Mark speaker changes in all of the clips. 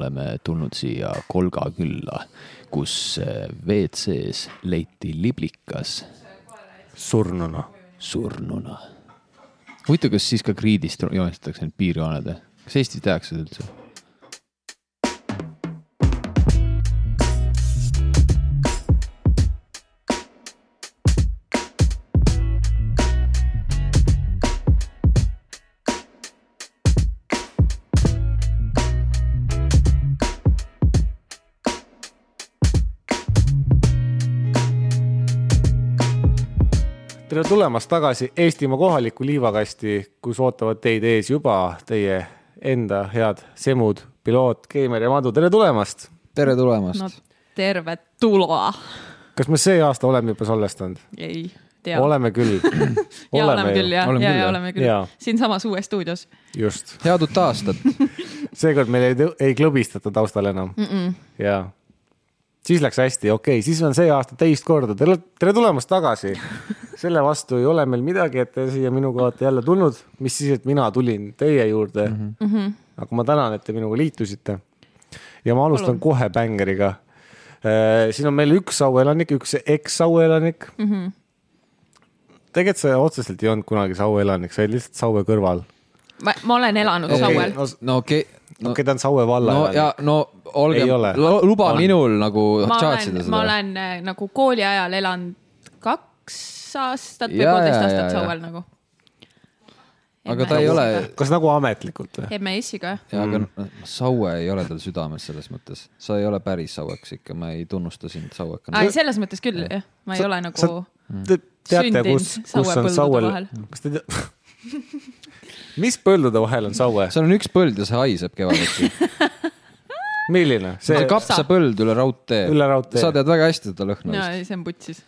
Speaker 1: oleme tulnud siia Kolga külla, kus eh, WC-s leiti liblikas
Speaker 2: surnuna .
Speaker 1: surnuna . huvitav , kas siis ka kriidist joonistatakse need piirjooned või ? kas Eestis tehakse seda üldse ?
Speaker 2: tere tulemast tagasi Eestimaa kohaliku liivakasti , kus ootavad teid ees juba teie enda head semud , piloot , Keimar ja Madu , tere tulemast .
Speaker 1: tere tulemast
Speaker 3: no tervetuloa .
Speaker 2: kas me see aasta oleme juba salvestanud ?
Speaker 3: ei tea . ja
Speaker 2: oleme küll .
Speaker 3: oleme, oleme küll jah ,
Speaker 1: Oleme
Speaker 3: ja ,
Speaker 1: küll,
Speaker 3: ja
Speaker 1: jah.
Speaker 3: oleme küll
Speaker 2: Jaa. .
Speaker 3: siinsamas uues stuudios
Speaker 2: just ,
Speaker 1: head uut aastat .
Speaker 2: seekord meil ei, tõ- ei klõbistata taustal enam mm . -mm. ja siis läks hästi , okei okay. , siis on see aasta teist korda , tere , tere tulemast tagasi . selle vastu ei ole meil midagi , et te siia minuga olete jälle tulnud , mis siis , et mina tulin teie juurde mm . -hmm. aga ma tänan , et te minuga liitusite . ja ma alustan Palun. kohe bängeriga . siin on meil üks auelanik , üks eks-auelanik mm . -hmm tegelikult sa otseselt ei olnud kunagi Saue elanik , sa olid lihtsalt Saue kõrval .
Speaker 3: ma, ma olen elanud
Speaker 1: Okei.
Speaker 3: okay. Sauel .
Speaker 1: no okei
Speaker 2: okei
Speaker 1: no, ,
Speaker 2: okay, ta on Saue valla
Speaker 1: no
Speaker 2: elanik.
Speaker 1: ja no olge
Speaker 2: Ei ole. ,
Speaker 1: luba
Speaker 2: On.
Speaker 1: on. minul nagu
Speaker 3: ma
Speaker 1: tšaatsida
Speaker 3: olen , ma
Speaker 1: seda .
Speaker 3: olen äh, nagu kooli ajal elanud kaks aastat või
Speaker 1: Jaa,
Speaker 3: poolteist
Speaker 1: jaa, jaa,
Speaker 3: aastat
Speaker 1: jaa.
Speaker 3: Sauel nagu .
Speaker 1: aga ta ei ole ,
Speaker 2: kas nagu ametlikult või ?
Speaker 3: MES-iga jah ,
Speaker 1: aga noh, Saue ei ole tal südames selles mõttes , sa ei ole päris Saueks ikka , ma ei tunnusta sind Sauekana .
Speaker 3: ei selles mõttes küll jah , ma ei
Speaker 2: Sa-
Speaker 3: ole
Speaker 2: sa-
Speaker 3: nagu ,
Speaker 2: Te teate ,
Speaker 3: Sündinud
Speaker 2: kus ,
Speaker 3: Saue
Speaker 2: kus on
Speaker 3: põldude
Speaker 2: Sauel
Speaker 3: vahel. ,
Speaker 2: kas te tea ? mis põldude vahel on Saue ?
Speaker 1: seal on üks põld ja see haiseb kevadeti .
Speaker 2: milline ?
Speaker 1: see
Speaker 2: see
Speaker 1: on , kapsapõld üle raudtee .
Speaker 2: Üle raudtee.
Speaker 1: sa tead väga hästi seda lõhna
Speaker 3: no
Speaker 1: vist .
Speaker 3: ei see on putsis .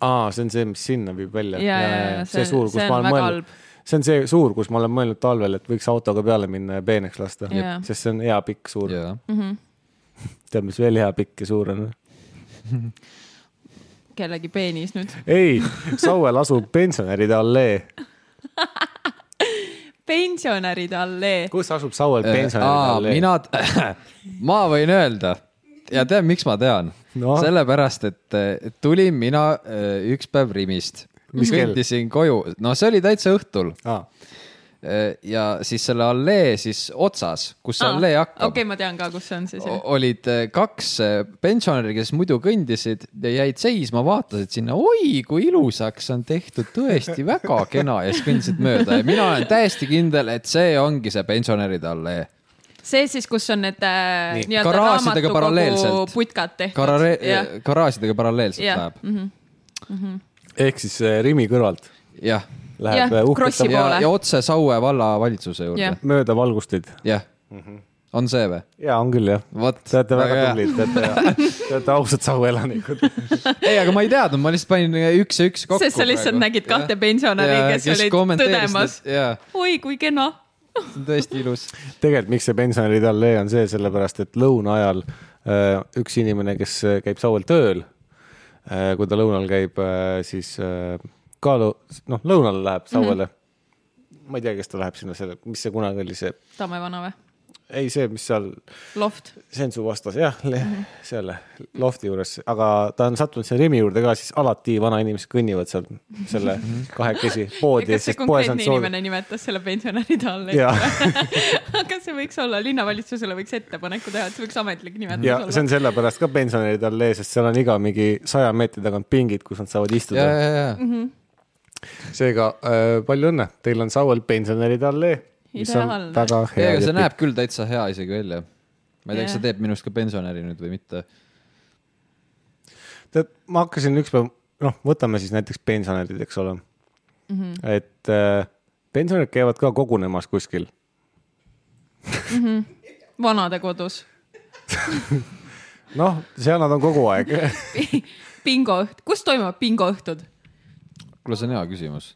Speaker 2: aa , see on see , mis sinna viib välja .
Speaker 3: Jaa, jaa, jaa,
Speaker 2: see
Speaker 3: see-
Speaker 2: suur , kus
Speaker 3: see on
Speaker 2: ma olen
Speaker 3: väga
Speaker 2: mõelnud
Speaker 3: halb. ,
Speaker 2: see on see suur , kus ma olen mõelnud talvel , et võiks autoga peale minna ja peeneks lasta
Speaker 3: Jaa. ,
Speaker 2: sest see on hea pikk suur .
Speaker 1: jaa ,
Speaker 2: tead , mis veel hea pikk ja suur on ?
Speaker 3: kellegi peenis nüüd .
Speaker 2: ei , Sauel asub pensionäride allee .
Speaker 3: pensionäride allee .
Speaker 2: kus asub Sauel pensionäride
Speaker 1: Äh, Aa,
Speaker 2: allee ?
Speaker 1: mina , ma võin öelda ja tead , miks ma tean no.
Speaker 2: No. ?
Speaker 1: sellepärast , et eh, tulin mina eh, üks päev Rimist .
Speaker 2: Mis kell?
Speaker 1: kõndisin koju , no see oli täitsa õhtul
Speaker 2: aa ,
Speaker 1: Eh, ja siis selle allee siis otsas , kus see allee hakkab
Speaker 3: okei , ma tean ka , kus see on siis
Speaker 1: O-
Speaker 3: jah .
Speaker 1: olid eh, kaks eh, pensionäri , kes muidu kõndisid ja jäid seisma , vaatasid sinna , oi kui ilusaks on tehtud , tõesti väga kena ja siis kõndisid mööda ja mina olen täiesti kindel , et see ongi see pensionäride allee .
Speaker 3: see siis , kus on need äh,
Speaker 2: Nii,
Speaker 3: nii-öelda
Speaker 1: garaažidega
Speaker 3: raamatukogu
Speaker 1: paralleelselt.
Speaker 3: putkad tehtud
Speaker 1: Garare-
Speaker 3: Jah. ,
Speaker 1: garaažidega paralleelselt
Speaker 3: Jah. Mhm.
Speaker 1: läheb ,
Speaker 2: ehk siis eh, Rimi kõrvalt
Speaker 1: jah .
Speaker 2: läheb
Speaker 3: Jah,
Speaker 2: eh, uhkelt
Speaker 3: Krossi
Speaker 2: ta-
Speaker 3: poole.
Speaker 1: ja , ja otse Saue vallavalitsuse juurde
Speaker 3: Jah. ,
Speaker 2: mööda valgusteid .
Speaker 1: jah . on see või ?
Speaker 2: ja on küll jah .
Speaker 1: vot .
Speaker 2: Te olete väga tublid , te olete , te olete ausad Saue elanikud .
Speaker 1: ei , aga ma ei teadnud , ma lihtsalt panin üks ja üks kokku .
Speaker 3: sest sa lihtsalt nägid kahte pensionäri , kes, olid tõdemas .
Speaker 1: jaa ,
Speaker 3: oi kui kena .
Speaker 1: see on tõesti ilus .
Speaker 2: tegelikult , miks see pensionäride allee on see , sellepärast et lõuna ajal äh, üks inimene , kes äh, käib Sauel tööl äh, , kui ta lõunal käib , siis äh, ka lõ- , noh , lõunale läheb Sauele mm . -hmm. ma ei tea , kes ta läheb sinna selle , mis see kunagi oli , see ,
Speaker 3: Tamme vana või ?
Speaker 2: ei see , mis seal
Speaker 3: Loft .
Speaker 2: Sensu vastas jah ,
Speaker 3: Mhm.
Speaker 2: seal lofti juures , aga ta on sattunud sinna Rimi juurde ka , siis alati vanainimesed kõnnivad seal selle kahekesi poodi .
Speaker 3: kas see konkreetne inimene nimetas selle pensionäride alla ?
Speaker 2: ja ,
Speaker 3: kas see võiks olla , linnavalitsusele võiks ettepaneku teha , et see võiks ametlik nimetus
Speaker 2: ja see
Speaker 3: olla ?
Speaker 2: on sellepärast ka pensionäride allee , sest seal on iga mingi saja meetri tagant pingid , kus nad saavad
Speaker 1: ja ,
Speaker 2: istuda .
Speaker 1: ja , ja ,
Speaker 2: seega äh, palju õnne , teil on Sauel pensionäride allee , mis on
Speaker 3: Ideaalne.
Speaker 2: väga hea .
Speaker 1: ega see näeb küll täitsa hea isegi välja . ma ei tea , kas see
Speaker 3: Jah.
Speaker 1: teeb minust ka pensionäri nüüd või mitte .
Speaker 2: tead , ma hakkasin ükspäev , noh , võtame siis näiteks pensionärid , eks ole mm .
Speaker 3: Mhm.
Speaker 2: -hmm. et äh, pensionärid käivad ka kogunemas kuskil
Speaker 3: vanadekodus .
Speaker 2: noh , seal nad on kogu aeg .
Speaker 3: bingoõht , kus toimuvad bingoõhtud ?
Speaker 1: kuule , see on hea küsimus .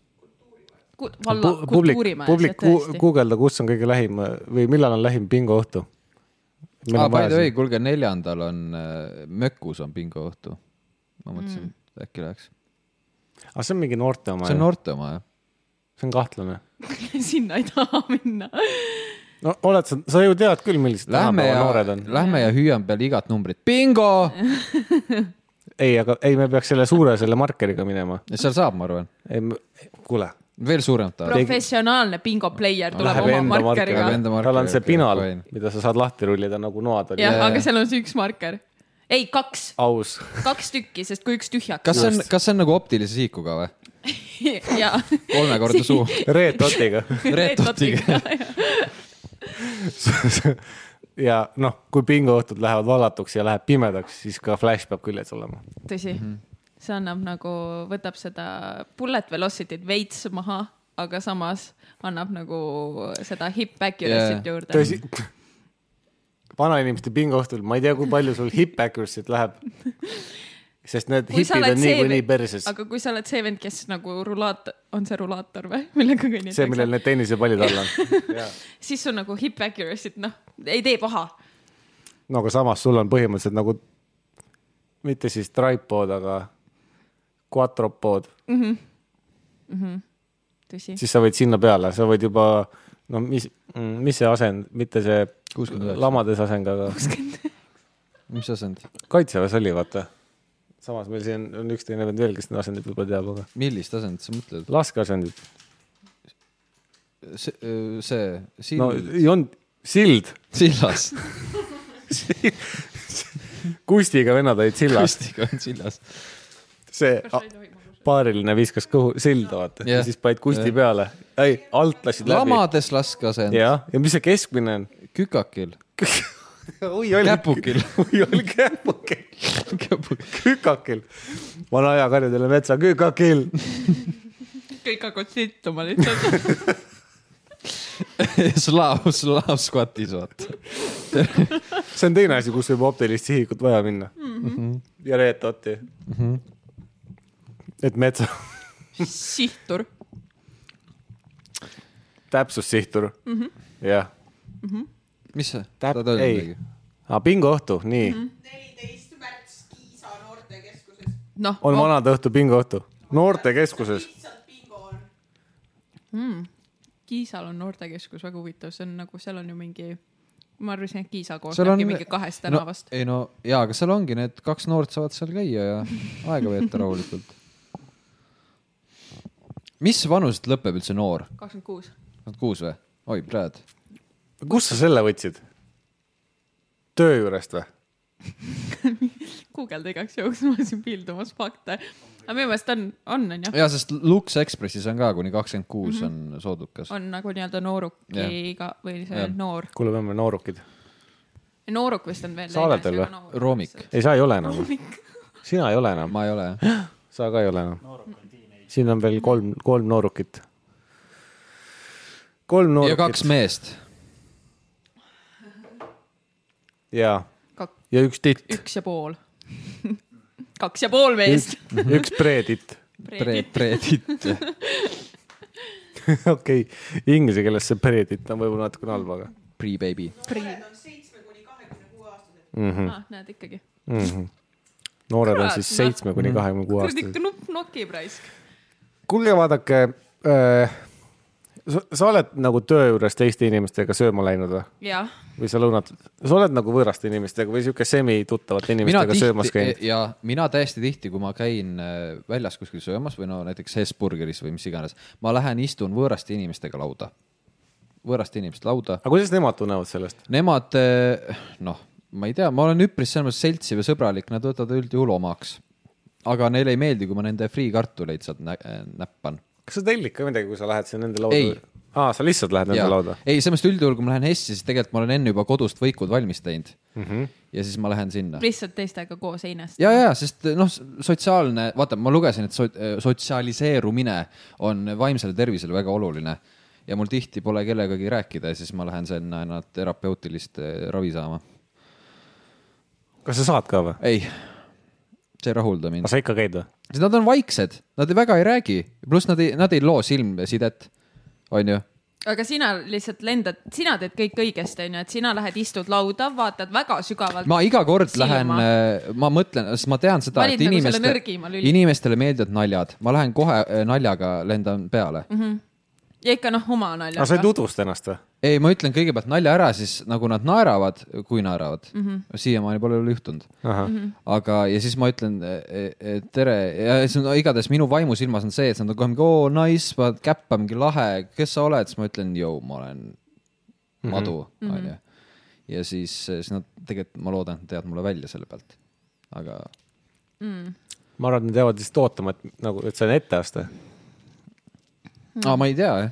Speaker 3: valla kultuurimajas
Speaker 2: publik
Speaker 3: jah , tõesti .
Speaker 2: guugelda , kus on kõige lähim või millal on lähim bingoõhtu .
Speaker 1: Ah, by the way , kuulge , neljandal on äh, Mökus on bingoõhtu . ma mõtlesin mm. , et äkki läheks .
Speaker 2: aga see on mingi noorte oma
Speaker 1: see on , noorte oma jah ?
Speaker 2: see on kahtlane .
Speaker 3: sinna ei taha minna .
Speaker 2: no oled sa , sa ju tead küll , millised
Speaker 1: Lähme
Speaker 2: tänapäeva
Speaker 1: ja
Speaker 2: noored on .
Speaker 1: lähme ja hüüame peale igat numbrit , bingo .
Speaker 2: ei , aga ei , me peaks selle suure , selle markeriga minema .
Speaker 1: seal saab , ma arvan ,
Speaker 2: kuule ,
Speaker 1: veel suuremat tahad .
Speaker 3: professionaalne bingo player tuleb
Speaker 2: läheb
Speaker 3: oma
Speaker 2: enda markeriga
Speaker 1: Läheb
Speaker 3: markeriga .
Speaker 1: enda .
Speaker 2: tal on
Speaker 1: markeriga,
Speaker 2: see
Speaker 1: okei,
Speaker 2: pinal
Speaker 1: fine. ,
Speaker 2: mida sa saad lahti rullida nagu noad oli .
Speaker 1: Jaa,
Speaker 3: jah ,
Speaker 1: jaa.
Speaker 3: aga seal on see üks marker . ei , kaks ,
Speaker 2: aus .
Speaker 3: kaks tükki , sest kui üks tühjaks .
Speaker 1: kas see on , kas see on nagu optilise siikuga või ?
Speaker 3: jaa .
Speaker 1: kolmekordne suu .
Speaker 2: Red Dotiga .
Speaker 1: Red Dotiga. .
Speaker 2: ja noh , kui bingoõhtud lähevad vallatuks ja läheb pimedaks , siis ka flash peab küljes olema .
Speaker 3: tõsi , see annab nagu , võtab seda bullet velocity't veits maha , aga samas annab nagu seda hip accuracy't
Speaker 1: Jaa.
Speaker 3: juurde .
Speaker 2: tõsi , vanainimeste bingoõhtul , ma ei tea , kui palju sul hip accuracy't läheb . sest need
Speaker 3: Kui sa
Speaker 2: hipid
Speaker 3: oled
Speaker 2: on
Speaker 3: see-
Speaker 2: niikuinii perses ,
Speaker 3: aga kui sa oled see vend , kes nagu rulaat- , on see rulaator või millega
Speaker 2: see , millel
Speaker 3: kõnnitakse ,
Speaker 2: need tennisepallid all on .
Speaker 3: siis sul nagu hip accuracy't noh , ei tee paha .
Speaker 2: no aga samas sul on põhimõtteliselt nagu mitte siis tripod , aga quadropod ,
Speaker 3: tõsi ,
Speaker 2: siis sa võid sinna peale , sa võid juba no mis , mis see asend , mitte see
Speaker 1: 69.
Speaker 2: lamades asend , aga
Speaker 1: mis asend ,
Speaker 2: kaitseväes oli , vaata . samas meil siin on üks teine vend veel , kes neid asendeid võib-olla teab , aga
Speaker 1: millist asendit sa mõtled ?
Speaker 2: laskeasendid ,
Speaker 1: see , see ,
Speaker 2: no
Speaker 1: sild ,
Speaker 2: ei olnud , sild ,
Speaker 1: sillas ,
Speaker 2: kustiga vennad olid sillas ,
Speaker 1: kustiga on sillas .
Speaker 2: see a- paariline viskas kõhu , silda vaata ja
Speaker 1: Jah.
Speaker 2: siis panid kusti
Speaker 1: Jah.
Speaker 2: peale , ei alt lasid läbi ,
Speaker 1: lamades laskeasend ,
Speaker 2: jah , ja mis see keskmine on ?
Speaker 1: kükakil ,
Speaker 2: oi , oli
Speaker 1: Käpukil.
Speaker 2: oi , oli käpukil , kükakil , vana aja karjadele metsa kükakil .
Speaker 3: kõik hakkavad sittuma lihtsalt .
Speaker 1: slaav , slaav skvatis , vaata .
Speaker 2: see on teine asi , kus võib optilist sihikut vaja minna mm . -hmm. ja reetoti mm . -hmm. et metsa
Speaker 3: sihtur .
Speaker 2: täpsussihtur mm . -hmm. jah ,
Speaker 1: mis see ?
Speaker 2: Täp- ei. aga bingoõhtu , Ah, nii mm , -hmm.
Speaker 4: neliteist märts Kiisa noortekeskuses .
Speaker 3: noh ,
Speaker 2: on vanade õhtu bingoõhtu , noortekeskuses .
Speaker 4: lihtsalt bingo on .
Speaker 3: Kiisal on noortekeskus väga huvitav , see on nagu seal on ju mingi , ma arvasin , et Kiisa
Speaker 1: seal on
Speaker 3: koosnebki mingi kahest tänavast
Speaker 1: no, . ei no jaa , aga seal ongi need kaks noort saavad seal käia ja aega veeta rahulikult . mis vanuselt lõpeb üldse noor ?
Speaker 3: kakskümmend kuus .
Speaker 1: kuus või ? oi , praed .
Speaker 2: kust sa selle võtsid ? töö juurest või ?
Speaker 3: guugelda igaks juhuks , ma siin piildumas fakte . aga minu meelest on , on , on ju .
Speaker 1: ja sest Lux Expressis on ka kuni kakskümmend
Speaker 3: Mhm.
Speaker 1: kuus on soodukas .
Speaker 3: on nagu nii-öelda nooruki
Speaker 1: Jah.
Speaker 3: iga või see
Speaker 1: Jah.
Speaker 3: yeah. noor .
Speaker 2: kuule , me oleme noorukid .
Speaker 3: nooruk vist on veel .
Speaker 2: Sa oled veel või? ?
Speaker 1: Roomik.
Speaker 2: ei , sa ei ole
Speaker 1: Oh
Speaker 2: enam . sina ei ole enam .
Speaker 1: ma ei ole jah .
Speaker 2: sa ka ei ole enam . siin on veel kolm , kolm noorukit . kolm
Speaker 1: ja kaks
Speaker 2: noorukit
Speaker 1: meest .
Speaker 2: ja , ja üks titt ,
Speaker 3: üks ja pool . kaks ja pool meest .
Speaker 2: üks preeditt .
Speaker 1: Pre- , preedit .
Speaker 2: okei , inglise keeles see preeditt on võib-olla natukene halb , aga
Speaker 1: Pre-baby .
Speaker 4: Need on seitsme kuni kahekümne kuue aastased .
Speaker 3: Ah, näed ikkagi .
Speaker 2: mm -hmm. noored on
Speaker 3: Kurat,
Speaker 2: siis
Speaker 3: noh.
Speaker 2: seitsme
Speaker 1: nagu
Speaker 2: kuni kahekümne kuue
Speaker 3: kuradi
Speaker 2: aastased .
Speaker 3: nupp nokib raisk .
Speaker 2: kuulge , vaadake äh, , sa oled nagu töö juures teiste inimestega sööma läinud või ?
Speaker 3: jah ,
Speaker 2: või sa lõunad , sa oled nagu võõraste inimestega või sihuke semituttavate
Speaker 1: mina
Speaker 2: inimestega söömas
Speaker 1: tihti
Speaker 2: käinud ?
Speaker 1: ja mina täiesti tihti , kui ma käin äh, väljas kuskil söömas või no näiteks Hesburgeris või mis iganes , ma lähen istun võõraste inimestega lauda , võõraste inimeste lauda .
Speaker 2: aga kuidas nemad tunnevad sellest ?
Speaker 1: Nemad äh, noh , ma ei tea , ma olen üpris selles mõttes seltsiv ja sõbralik , nad võtavad üldjuhul omaks . aga neile ei meeldi , kui ma nende friikartuleid sealt nä äh, näppan .
Speaker 2: kas sa tellid ka midagi , kui sa lähed sinna nende lauda
Speaker 1: Ei. ?
Speaker 2: aa , sa lihtsalt lähed nende lauda ?
Speaker 1: ei , selles mõttes üldjuhul , kui ma lähen Hessi , siis tegelikult ma olen enne juba kodust võikud valmis teinud mm .
Speaker 2: Mhm.
Speaker 1: -hmm. ja siis ma lähen sinna .
Speaker 3: lihtsalt teistega koos heinast .
Speaker 1: ja , ja , sest noh , sotsiaalne , vaata , ma lugesin , et so, sotsialiseerumine on vaimsele tervisele väga oluline ja mul tihti pole kellegagi rääkida ja siis ma lähen sinna ennast terapeutilist eh, ravi saama .
Speaker 2: kas sa saad ka või ?
Speaker 1: ei , see ei rahulda mind
Speaker 2: aga , sa ikka käid või ?
Speaker 1: sest nad on vaiksed , nad väga ei räägi , pluss nad ei , nad ei loo silmsidet , onju .
Speaker 3: aga sina lihtsalt lendad , sina teed kõik õigesti , onju , et sina lähed , istud lauda , vaatad väga sügavalt
Speaker 1: ma iga kord
Speaker 3: Silma.
Speaker 1: lähen , äh, ma mõtlen , sest ma tean seda ,
Speaker 3: Valid
Speaker 1: et
Speaker 3: nagu selle
Speaker 1: inimeste
Speaker 3: nõrgima , lüli.
Speaker 1: inimestele meeldivad naljad , ma lähen kohe eh, naljaga lendan peale mm . -hmm.
Speaker 3: ja ikka noh , oma
Speaker 2: aga sa ei
Speaker 3: naljaga .
Speaker 2: tutvusta ennast või ?
Speaker 1: ei , ma ütlen kõigepealt nalja ära , siis nagu nad naeravad , kui naeravad mm
Speaker 3: Mhm.
Speaker 1: -hmm. . siiamaani pole veel juhtunud . Mhm. aga , ja siis ma ütlen eh, eh, tere ja siis on igatahes minu vaimusilmas on see , et siis nad on kohe mingi oo nice , vaat käppa mingi lahe , kes sa oled , siis ma ütlen , jõu , ma olen madu ,
Speaker 3: Mhm.
Speaker 1: onju . ja siis , siis nad tegelikult , ma loodan , et nad teavad mulle välja selle pealt . aga
Speaker 2: ma arvan , et nad jäävad lihtsalt ootama , et nagu , et see on etteaste .
Speaker 3: Mhm.
Speaker 1: mm. , aa , ma ei tea jah .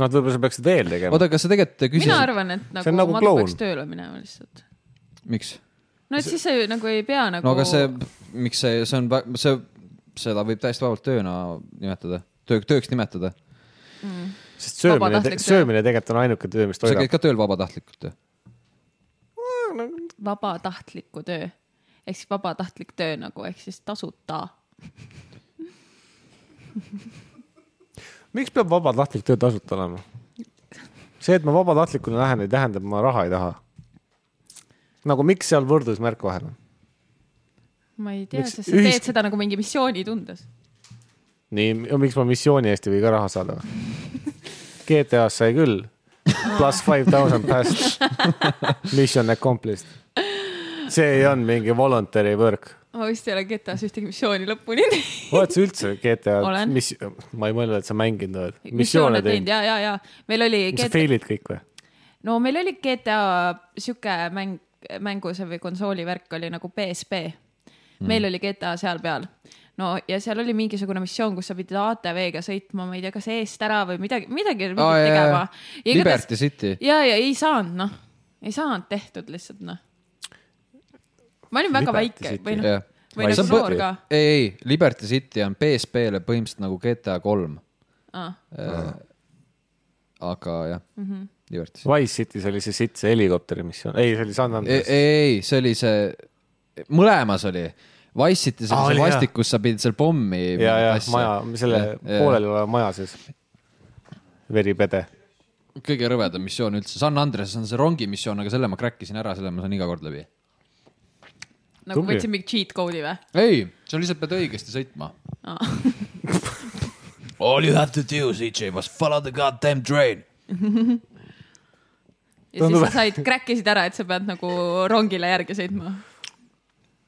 Speaker 2: noh , et võib-olla sa peaksid veel tegema .
Speaker 1: oota , kas sa tegelikult
Speaker 3: mina
Speaker 1: küsisid ,
Speaker 3: arvan , et
Speaker 2: See on
Speaker 3: nagu,
Speaker 2: nagu
Speaker 3: nagu madu
Speaker 2: kloun.
Speaker 3: peaks tööle minema lihtsalt .
Speaker 1: miks ?
Speaker 3: no et siis sa ju nagu ei pea nagu .
Speaker 1: no aga see , miks see , see on , see , seda võib täiesti vabalt tööna nimetada , töö , tööks nimetada .
Speaker 2: sest söömine ,
Speaker 3: vabatahtlik töö.
Speaker 2: söömine tegelikult on ainuke töö , mis
Speaker 1: sa käid
Speaker 2: toidab .
Speaker 1: ka tööl vabatahtlikult ju ?
Speaker 3: vabatahtliku töö ehk siis vabatahtlik töö nagu ehk siis tasuta .
Speaker 2: miks peab vabatahtlik töö tasuta olema ? see , et ma vabatahtlikuna lähen , ei tähenda , et ma raha ei taha . nagu miks seal võrdusmärk vahel on ?
Speaker 3: ma ei tea ,
Speaker 2: Miks
Speaker 3: sest sa ühis...
Speaker 2: ühis-
Speaker 3: teed seda nagu mingi missiooni tundes .
Speaker 2: nii , miks ma missiooni eest ei või ka raha saada ? GTA-s sai küll . pluss five thousand past . Mission accomplished . see ei olnud mingi voluntary work .
Speaker 3: ma vist ei ole GTA-s ühtegi missiooni lõpuni teinud .
Speaker 2: oled sa üldse GTA-d ,
Speaker 3: Olen.
Speaker 2: mis , ma ei mõelnud , et sa mänginud oled .
Speaker 3: missioone
Speaker 2: missioone
Speaker 3: teinud
Speaker 2: teinud .
Speaker 3: ja , ja , ja meil oli
Speaker 2: kas sa
Speaker 3: GTA ,
Speaker 2: fail'id kõik või ?
Speaker 3: no meil oli GTA sihuke mäng , mängu see või konsooli värk oli nagu PSP .
Speaker 1: Hmm.
Speaker 3: meil oli GTA seal peal . no ja seal oli mingisugune missioon , kus sa pidid ATV-ga sõitma , ma ei tea , kas eest ära või midagi , midagi
Speaker 1: Aa,
Speaker 3: pidid
Speaker 1: jaa, jaa.
Speaker 3: tegema .
Speaker 1: Liberty City .
Speaker 3: ja , ja ei saanud noh , ei saanud tehtud lihtsalt noh . ma olin väga
Speaker 2: Liberty
Speaker 3: väike
Speaker 2: City.
Speaker 3: või
Speaker 1: jah
Speaker 3: noh , või
Speaker 2: Ma ei
Speaker 3: nagu
Speaker 2: saa
Speaker 3: noor
Speaker 2: mõelda.
Speaker 3: ka .
Speaker 1: ei , ei Liberty City on PSP-le põhimõtteliselt nagu GTA kolm , aga jah mm , -hmm. Liberty City .
Speaker 2: Wise City's oli see sitt , see helikopteri missioon , ei , see oli San
Speaker 1: ei ,
Speaker 2: Andreas .
Speaker 1: ei , ei , see oli see , mõlemas oli . Wise City's
Speaker 2: Aa,
Speaker 1: oli
Speaker 2: oli,
Speaker 1: see
Speaker 2: jah.
Speaker 1: vastikus , sa pidid seal pommi .
Speaker 2: ja , ja maja , selle pooleli . oleva maja sees . veripede .
Speaker 1: kõige rõvedam missioon üldse , San Andres on see rongimissioon , aga selle ma crack isin ära , selle ma saan iga kord läbi .
Speaker 3: nagu
Speaker 2: Tubli.
Speaker 3: võtsin mingi cheat code'i või ?
Speaker 1: ei , sa lihtsalt pead õigesti sõitma . All you have to do , CJ , was follow the goddamn train .
Speaker 3: ja
Speaker 2: Tundub-
Speaker 3: siis sa said , crack isid ära , et sa pead nagu rongile järgi sõitma .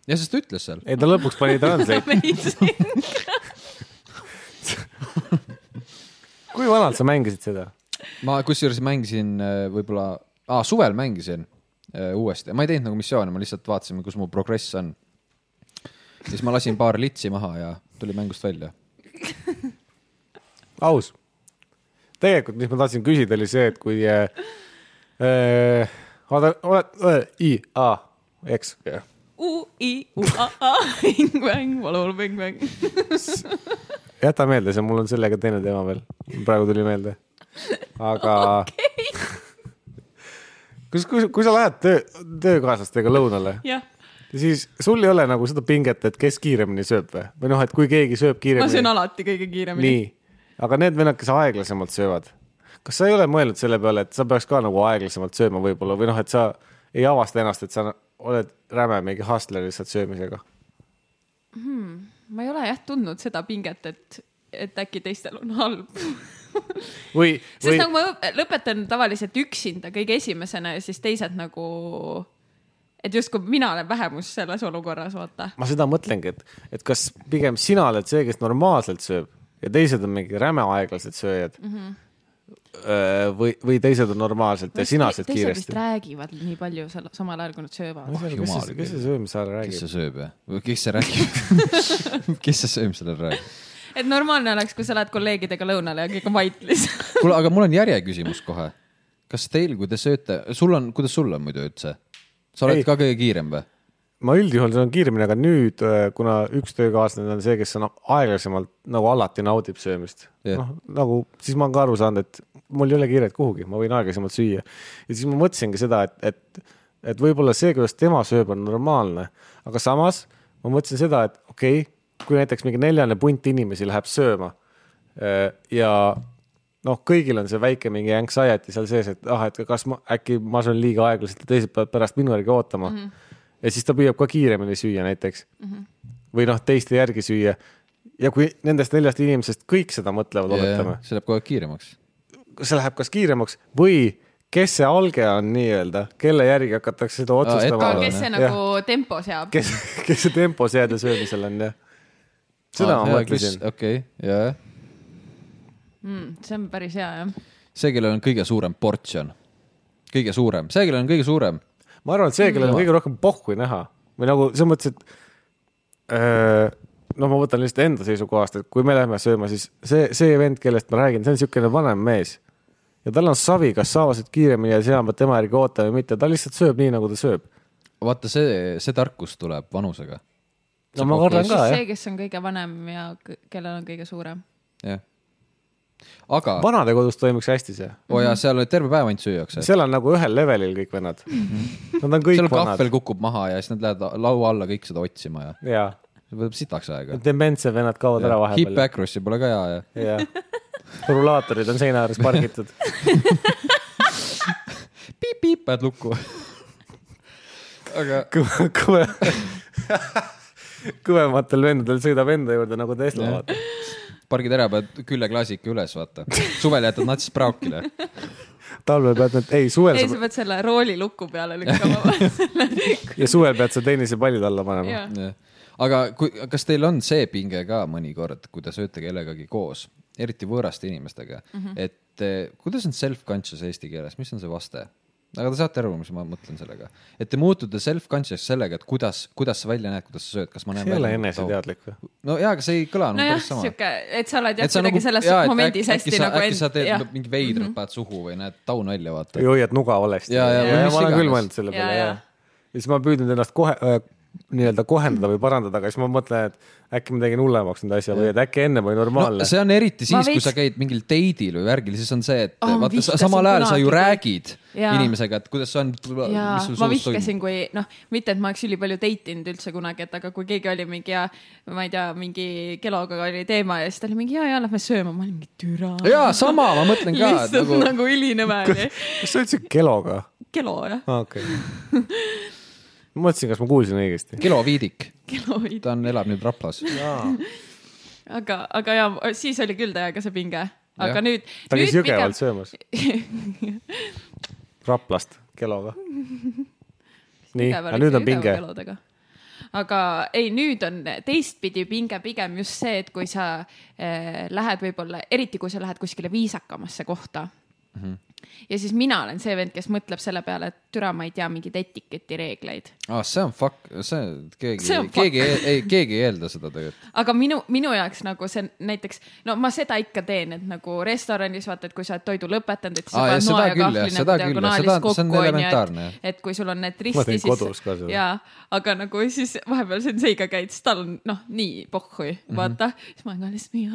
Speaker 1: ja siis ta ütles seal .
Speaker 2: ei , ta lõpuks pani translate'i . kui vanalt sa mängisid seda ?
Speaker 1: ma kusjuures mängisin äh, võib-olla ah, , suvel mängisin äh, uuesti , ma ei teinud nagu missioone , ma lihtsalt vaatasin , kus mu progress on . siis ma lasin paar litsi maha ja tuli mängust välja .
Speaker 2: aus . tegelikult , mis ma tahtsin küsida , oli see , et kui äh, äh, oota , oled äh, , I , A , eks .
Speaker 3: U , I , U , A , A , hing , väng , valul , väng , väng .
Speaker 2: jäta meelde , see mul on sellega teine teema veel , praegu tuli meelde . aga okay. . kus , kus , kui sa lähed töö , töökaaslastega lõunale ,
Speaker 3: jah ,
Speaker 2: siis sul ei ole nagu seda pinget , et kes kiiremini sööb või , või noh , et kui keegi sööb
Speaker 3: ma söön
Speaker 2: kiiremini .
Speaker 3: alati kõige kiiremini .
Speaker 2: nii , aga need vennad , kes aeglasemalt söövad , kas sa ei ole mõelnud selle peale , et sa peaks ka nagu aeglasemalt sööma võib-olla või noh , et sa ei avasta ennast , et sa oled räme mingi hustler lihtsalt söömisega .
Speaker 3: ma ei ole jah tundnud seda pinget , et , et äkki teistel on halb .
Speaker 2: või ,
Speaker 3: sest
Speaker 2: või
Speaker 3: nagu ma õp- lõpetan tavaliselt üksinda kõige esimesena ja siis teised nagu , et justkui mina olen vähemus selles olukorras , vaata .
Speaker 2: ma seda mõtlengi , et , et kas pigem sina oled see , kes normaalselt sööb ja teised on mingi räme aeglased sööjad mm .
Speaker 3: Mhm.
Speaker 2: -hmm. või , või teised on normaalselt ja sina sööd
Speaker 3: vist
Speaker 2: kiiresti .
Speaker 3: räägivad nii palju seal samal ajal , kui nad söövad .
Speaker 2: kes
Speaker 1: Ah, Jumal
Speaker 2: see , kes
Speaker 1: küll.
Speaker 2: see söömise ajal
Speaker 1: kes
Speaker 2: räägib ?
Speaker 1: see sööb ja , või kes see räägib ? kes see sööb selle ära ?
Speaker 3: et normaalne oleks , kui sa lähed kolleegidega lõunale ja kõik on vait lihtsalt .
Speaker 1: kuule , aga mul on järjeküsimus kohe . kas teil , kui te sööte , sul on , kuidas sul on muidu üldse ? sa oled
Speaker 2: Ei.
Speaker 1: ei. ka kõige kiirem või ?
Speaker 2: ma üldjuhul söön kiiremini , aga nüüd , kuna üks töökaaslane on see , kes on aeglasemalt nagu alati naudib söömist
Speaker 1: Jah.
Speaker 2: noh , nagu siis ma olen ka aru saanud , et mul ei ole kiiret kuhugi , ma võin aeglasemalt süüa . ja siis ma mõtlesingi seda , et , et , et võib-olla see , kuidas tema sööb , on normaalne , aga samas ma mõtlesin seda , et okei okay, , kui näiteks mingi neljane punt inimesi läheb sööma äh, ja noh , kõigil on see väike mingi anxiety seal sees , et ah , et kas ma äkki ma söön liiga aeglaselt ja teised peavad pärast minu järgi ootama mm . -hmm. ja siis ta püüab ka kiiremini süüa näiteks mm . -hmm. või noh , teiste järgi süüa . ja kui nendest neljast inimesest kõik seda mõtlevad , oletame ,
Speaker 1: see läheb kogu aeg kiiremaks .
Speaker 2: see läheb kas kiiremaks või kes see alge on nii-öelda , kelle järgi hakatakse seda otsustama
Speaker 1: ettearvamine. .
Speaker 3: kes see nagu tempo seab .
Speaker 2: kes , kes see tempo seade söömisel on jah . seda ma mõtlesin .
Speaker 1: okei , jajah .
Speaker 3: Mm, see on päris hea jah .
Speaker 1: see , kellel on kõige suurem portsjon , kõige suurem , see , kellel on kõige suurem ,
Speaker 2: ma arvan , et see , kellel on kõige rohkem pohhui näha või nagu selles mõttes , et öö, no ma võtan lihtsalt enda seisukohast , et kui me lähme sööma , siis see , see vend , kellest ma räägin , see on niisugune vanem mees ja tal on savi , kas saavased kiiremini ja seama tema järgi oota või mitte , ta lihtsalt sööb nii , nagu ta sööb .
Speaker 1: vaata see , see tarkus tuleb vanusega .
Speaker 2: no ma kardan ka
Speaker 3: siis
Speaker 2: jah ,
Speaker 3: see , kes on kõige vanem ja kõ- kellel on kõige suurem .
Speaker 1: jah . aga ,
Speaker 2: vanadekodus toimiks hästi see ,
Speaker 1: oo jaa , seal oli terve päev ainult süüakse .
Speaker 2: seal on nagu ühel levelil kõik vennad . Nad Mhm. on kõik
Speaker 1: seal
Speaker 2: vanad
Speaker 1: kahvel kukub maha ja siis nad lähevad laua alla kõik seda otsima ja
Speaker 2: ja
Speaker 1: see võtab sitaks aega .
Speaker 2: dementsed vennad kaovad ära
Speaker 1: Hip
Speaker 2: vahepeal .
Speaker 1: Acrossi pole ka hea ja .
Speaker 2: jah , rulaatorid on seina ääres pargitud .
Speaker 1: piip-piip pead lukku . aga
Speaker 2: kõve , kõve , kõvematel vendadel sõidab enda juurde nagu Tesla
Speaker 1: Jah.
Speaker 2: vaata .
Speaker 1: pargid ära , paned küljeklaasika üles , vaata . suvel jätad natsist praokile .
Speaker 2: talvel pead need , ei suvel
Speaker 3: ei ,
Speaker 2: sa
Speaker 3: sa pead selle rooli luku peale lükkama .
Speaker 2: pead ja suvel pead sa tennisepallid alla panema .
Speaker 3: Jah.
Speaker 1: aga kui , kas teil on see pinge ka mõnikord , kui te sööte kellegagi koos , eriti võõraste inimestega mm ,
Speaker 3: Mhm.
Speaker 1: -hmm. et eh, kuidas on self-conscious eesti keeles , mis on see vaste ? aga te saate aru , mis ma mõtlen sellega , et te muutute self-conscious sellega , et kuidas , kuidas sa välja näed , kuidas sa sööd , kas ma näen
Speaker 2: see ei ole
Speaker 1: välja .
Speaker 2: eneseteadlik või ?
Speaker 1: no jaa , aga see ei kõlanud
Speaker 3: nojah ,
Speaker 1: päris sama .
Speaker 3: sihuke , et sa oled jah kuidagi
Speaker 1: nagu-
Speaker 3: selles jaa, momendis hästi
Speaker 1: sa,
Speaker 3: nagu
Speaker 1: äkki sa teed
Speaker 3: jah. Mhm.
Speaker 1: mingi veidrat mm , -hmm. paned suhu või näed taun välja , vaata .
Speaker 2: või hoiad nuga valesti .
Speaker 1: Jaa, jaa, või mis
Speaker 2: ma olen
Speaker 1: iganes.
Speaker 2: küll mõelnud selle
Speaker 3: Jaa,
Speaker 2: peale
Speaker 3: jaa.
Speaker 2: ja , ja siis ma olen püüdnud ennast kohe äh, nii-öelda kohendada või parandada , aga siis ma mõtlen , et äkki ma tegin hullemaks nende asja või et äkki ennem oli normaalne
Speaker 1: no, . see on eriti siis
Speaker 3: Ma ,
Speaker 1: veits...
Speaker 3: veits-
Speaker 1: kui sa käid mingil date'il või värgil , siis on see , et
Speaker 3: Oh,
Speaker 1: oh,
Speaker 3: ma
Speaker 1: vaata sa-
Speaker 3: vihkasin
Speaker 1: samal ajal sa ju
Speaker 3: kunagi, kui-
Speaker 1: räägid ja.
Speaker 3: Jaa.
Speaker 1: inimesega , et kuidas see on ,
Speaker 3: jaa
Speaker 1: mis sul ,
Speaker 3: ma
Speaker 1: suus toimub .
Speaker 3: vihkasin , kui noh , mitte et ma oleks ülipalju date inud üldse kunagi , et aga kui keegi oli mingi ja ma ei tea , mingi keloga oli teema ja siis ta oli mingi ja , ja lähme sööma , ma olin mingi türa .
Speaker 1: jaa , sama , ma mõtlen ka , et
Speaker 3: lihtsalt
Speaker 1: nagu,
Speaker 3: nagu,
Speaker 1: nagu... ,
Speaker 3: nagu ülinõme oli ,
Speaker 2: kas sa ütlesid keloga ?
Speaker 3: kelo jah ,
Speaker 2: aa , okei okay. . ma mõtlesin , kas ma kuulsin õigesti .
Speaker 1: Kelo Viidik ,
Speaker 3: kelo ei
Speaker 1: ta on , elab nüüd Raplas .
Speaker 3: aga , aga ja siis oli küll täiega see pinge , aga
Speaker 1: Jah.
Speaker 3: ja. nüüd .
Speaker 2: ta käis Jõgevalt söömas . Raplast keloga . nii , aga nüüd on pinge .
Speaker 3: aga ei , nüüd on teistpidi pinge pigem just see , et kui sa eh, lähed võib-olla , eriti kui sa lähed kuskile viisakamasse kohta mm .
Speaker 2: Mhm.
Speaker 3: -hmm. ja siis mina olen see vend , kes mõtleb selle peale , et türa , ma ei tea mingeid etiketireegleid .
Speaker 1: aa , Ah, see on fuck , see , keegi
Speaker 3: See on , fuck.
Speaker 1: keegi , ei , keegi ei eelda seda tegelikult .
Speaker 3: aga minu , minu jaoks nagu see näiteks , no ma seda ikka teen , et nagu restoranis vaata , et kui sa oled toidu lõpetanud , et siis
Speaker 1: Aa,
Speaker 3: sa
Speaker 1: jah,
Speaker 3: paned
Speaker 1: seda
Speaker 3: noa ja
Speaker 1: küll, jah,
Speaker 3: kahvli
Speaker 1: seda
Speaker 3: nagu
Speaker 1: küll, jah,
Speaker 3: diagonaalis
Speaker 1: seda- see on
Speaker 3: kokku ,
Speaker 1: elementaarne,
Speaker 3: onju
Speaker 1: jah. ,
Speaker 3: et kui sul on need
Speaker 2: Ma
Speaker 3: risti
Speaker 2: teen , kodus ka
Speaker 3: siis
Speaker 2: seda.
Speaker 3: jaa , aga nagu siis vahepeal senseiga käid , siis tal on noh , nii pohhui ,
Speaker 1: Mhm.
Speaker 3: vaata , siis ma olen ka lihtsalt nii .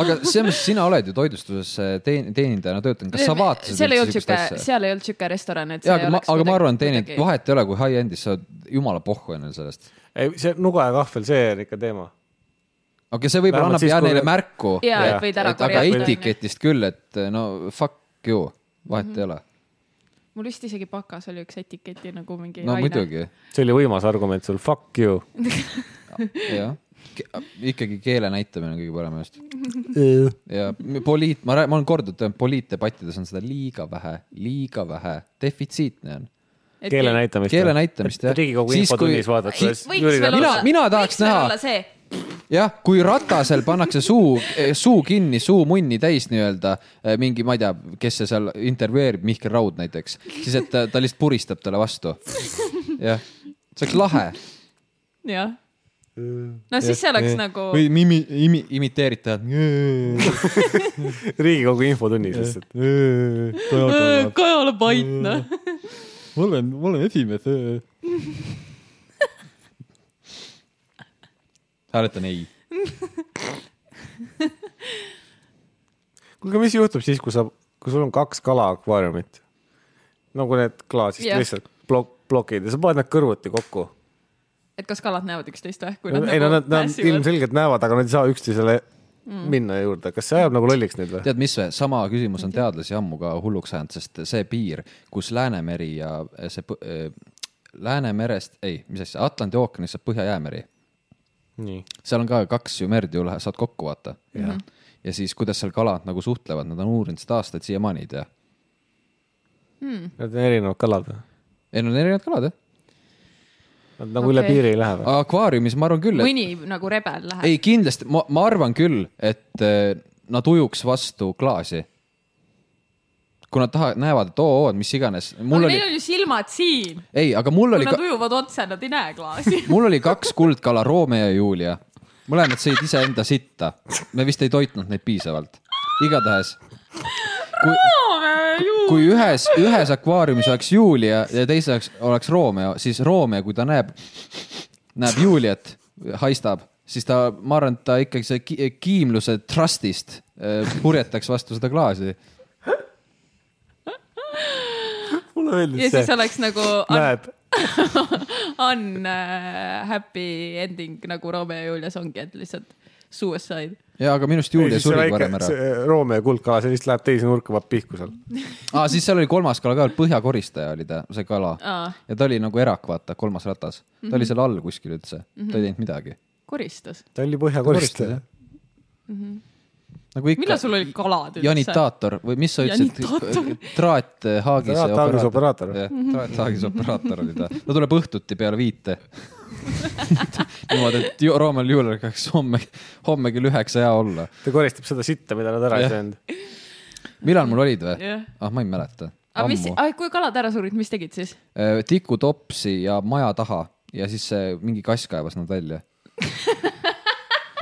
Speaker 1: aga see , mis sina oled ju toidustuses eh, teen- , teenindajana töötanud , kas sa vaatasid
Speaker 3: seal ei olnud
Speaker 1: siukest
Speaker 3: siuke ,
Speaker 1: asja?
Speaker 3: seal ei olnud siuke restoran , et
Speaker 1: jaa ,
Speaker 3: see ei
Speaker 1: aga ma ,
Speaker 3: oleks
Speaker 1: aga ma
Speaker 3: kuidagi-
Speaker 1: arvan , teenid
Speaker 3: kuidagi- ,
Speaker 1: vahet ei ole , kui high-end'is sa oled jumala pohhu enne sellest .
Speaker 2: ei , see nuga ja kahvel , see on ikka teema .
Speaker 1: okei okay, , see võib-olla
Speaker 2: Vähemalt
Speaker 1: annab
Speaker 2: siis,
Speaker 1: jah
Speaker 2: kui-
Speaker 1: neile märku .
Speaker 3: jaa ,
Speaker 2: Jaa.
Speaker 3: et võid ära
Speaker 1: et aga
Speaker 3: korjata .
Speaker 1: etiketist küll , et no fuck you , vahet
Speaker 3: Mhm.
Speaker 1: ei ole .
Speaker 3: mul vist isegi bakas oli üks etiketi nagu mingi
Speaker 1: no
Speaker 3: aine.
Speaker 1: muidugi ,
Speaker 2: see oli võimas argument sul , fuck you .
Speaker 1: jah . ikkagi keele näitamine on kõige parem just . ja poliit , ma , ma olen korduvalt öelnud , poliitdebattides on seda liiga vähe , liga vähe , defitsiitne on .
Speaker 3: Et-
Speaker 2: keele näitamist .
Speaker 1: Keele näitamist, jah.
Speaker 2: riigikogu
Speaker 1: Siis, kui-
Speaker 2: infotunnis vaadata , siis
Speaker 3: võiks
Speaker 2: Jüri
Speaker 3: veel
Speaker 2: Ratas ,
Speaker 1: Mina-
Speaker 3: olla ,
Speaker 1: mina tahaks näha-
Speaker 3: see ,
Speaker 1: jah , kui ratasel pannakse suu , suu kinni , suu munni täis nii-öelda eh, mingi , ma ei tea , kes see seal intervjueerib , Mihkel Raud näiteks , siis et ta, ta lihtsalt puristab talle vastu . jah , see oleks lahe
Speaker 3: jah . no siis see oleks nagu ,
Speaker 1: või imi, imi, imiteeritajad .
Speaker 2: riigikogu infotunnis lihtsalt .
Speaker 3: Kaja ole pait noh .
Speaker 1: ma olen , ma olen esimees . hääletan ei .
Speaker 2: kuulge , mis juhtub siis , kui sa , kui sul on kaks kala akvaariumit ? nagu need klaasist
Speaker 3: Jah.
Speaker 2: lihtsalt plok- , plokid ja sa paned nad kõrvuti kokku .
Speaker 3: et kas kalad näevad üksteist või , kui nad
Speaker 2: ei no nad ,
Speaker 3: nagu Mm.
Speaker 2: nad
Speaker 3: mässivad .
Speaker 2: ilmselgelt näevad , aga nad ei saa üksteisele minna juurde . kas see ajab nagu lolliks nüüd või ?
Speaker 1: tead , mis või , sama küsimus on teadlasi ammu ka hulluks ajanud , sest see piir , kus Läänemeri ja see põ- äh, Läänemerest , ei , mis asja , Atlandi ookeanist saab Põhja-Jäämeri .
Speaker 2: nii .
Speaker 1: seal on ka kaks ju merd ju lähe- saad kokku vaata . ja siis , kuidas seal kalad nagu suhtlevad , nad on uurinud seda aastaid , siiamaani ei tea .
Speaker 3: Mhm.
Speaker 2: Nad on erinevad kalad või ?
Speaker 1: ei , nad on erinevad kalad jah .
Speaker 2: Nad nagu okay. üle
Speaker 3: Okei.
Speaker 2: piiri ei lähe või ?
Speaker 1: akvaariumis ma arvan küll , et
Speaker 3: mõni nagu rebel läheb .
Speaker 1: ei kindlasti , ma , ma arvan küll , et eh, nad ujuks vastu klaasi . kui nad tahavad , näevad , et oo , mis iganes , mul
Speaker 3: aga
Speaker 1: oli
Speaker 3: neil , on ju silmad siin ,
Speaker 1: ei , aga mul
Speaker 3: kui
Speaker 1: oli
Speaker 3: nad , ujuvad otse , nad ei näe klaasi .
Speaker 1: mul oli kaks kuldkala , Romeo ja Julia . mõlemad sõid iseenda sitta . me vist ei toitnud neid piisavalt . igatahes . kui , kui ühes , ühes akvaariumis oleks Julia ja teises oleks, oleks Romeo , siis Romeo , kui ta näeb , näeb Juliat , haistab , siis ta , ma arvan , et ta ikkagi see ki- kiimluse trustist eh, purjetaks vastu seda klaasi .
Speaker 2: mulle
Speaker 3: ja
Speaker 2: meeldis
Speaker 3: siis
Speaker 2: see .
Speaker 3: oleks nagu un,
Speaker 2: näed ,
Speaker 3: un uh, happy ending nagu Romeo ja Julias ongi , et lihtsalt suicide .
Speaker 1: ja aga minu arust
Speaker 2: ei
Speaker 1: Julia
Speaker 2: siis see
Speaker 1: suri
Speaker 2: väike
Speaker 1: varem , ära .
Speaker 2: see Roomea kuldkala , see vist läheb teise nurka , vab pihku seal .
Speaker 1: aa , siis seal oli kolmas kala ka , põhjakoristaja oli ta , see kala .
Speaker 3: Aa.
Speaker 1: ja ta oli nagu erak , vaata , kolmas ratas . ta mm
Speaker 2: Mhm.
Speaker 1: -hmm. oli seal all kuskil üldse mm , -hmm. ta ei teinud midagi .
Speaker 3: koristas .
Speaker 2: ta oli põhjakoristaja .
Speaker 1: nagu
Speaker 3: millal
Speaker 1: ikka ,
Speaker 3: sul olid kalad üldse ?
Speaker 1: janitaator või mis sa
Speaker 3: Janitaator.
Speaker 1: ütlesid , eh, traathaagis .
Speaker 2: Traathaagise operaator.
Speaker 1: traathaagis operaator oli ta , ta tuleb õhtuti peale viite . niimoodi , et ju- Roomel Juulel peaks homme , homme kell üheksa hea olla .
Speaker 2: ta koristab seda sitta , mida nad ära ei
Speaker 1: Jah.
Speaker 2: söönud .
Speaker 1: millal mul olid või
Speaker 3: Jah. ?
Speaker 1: ah , ma ei mäleta .
Speaker 3: aga mis , kui kalad ära surid , mis tegid siis ?
Speaker 1: Äh, tikutopsi ja maja taha ja siis see mingi kass kaevas nad välja .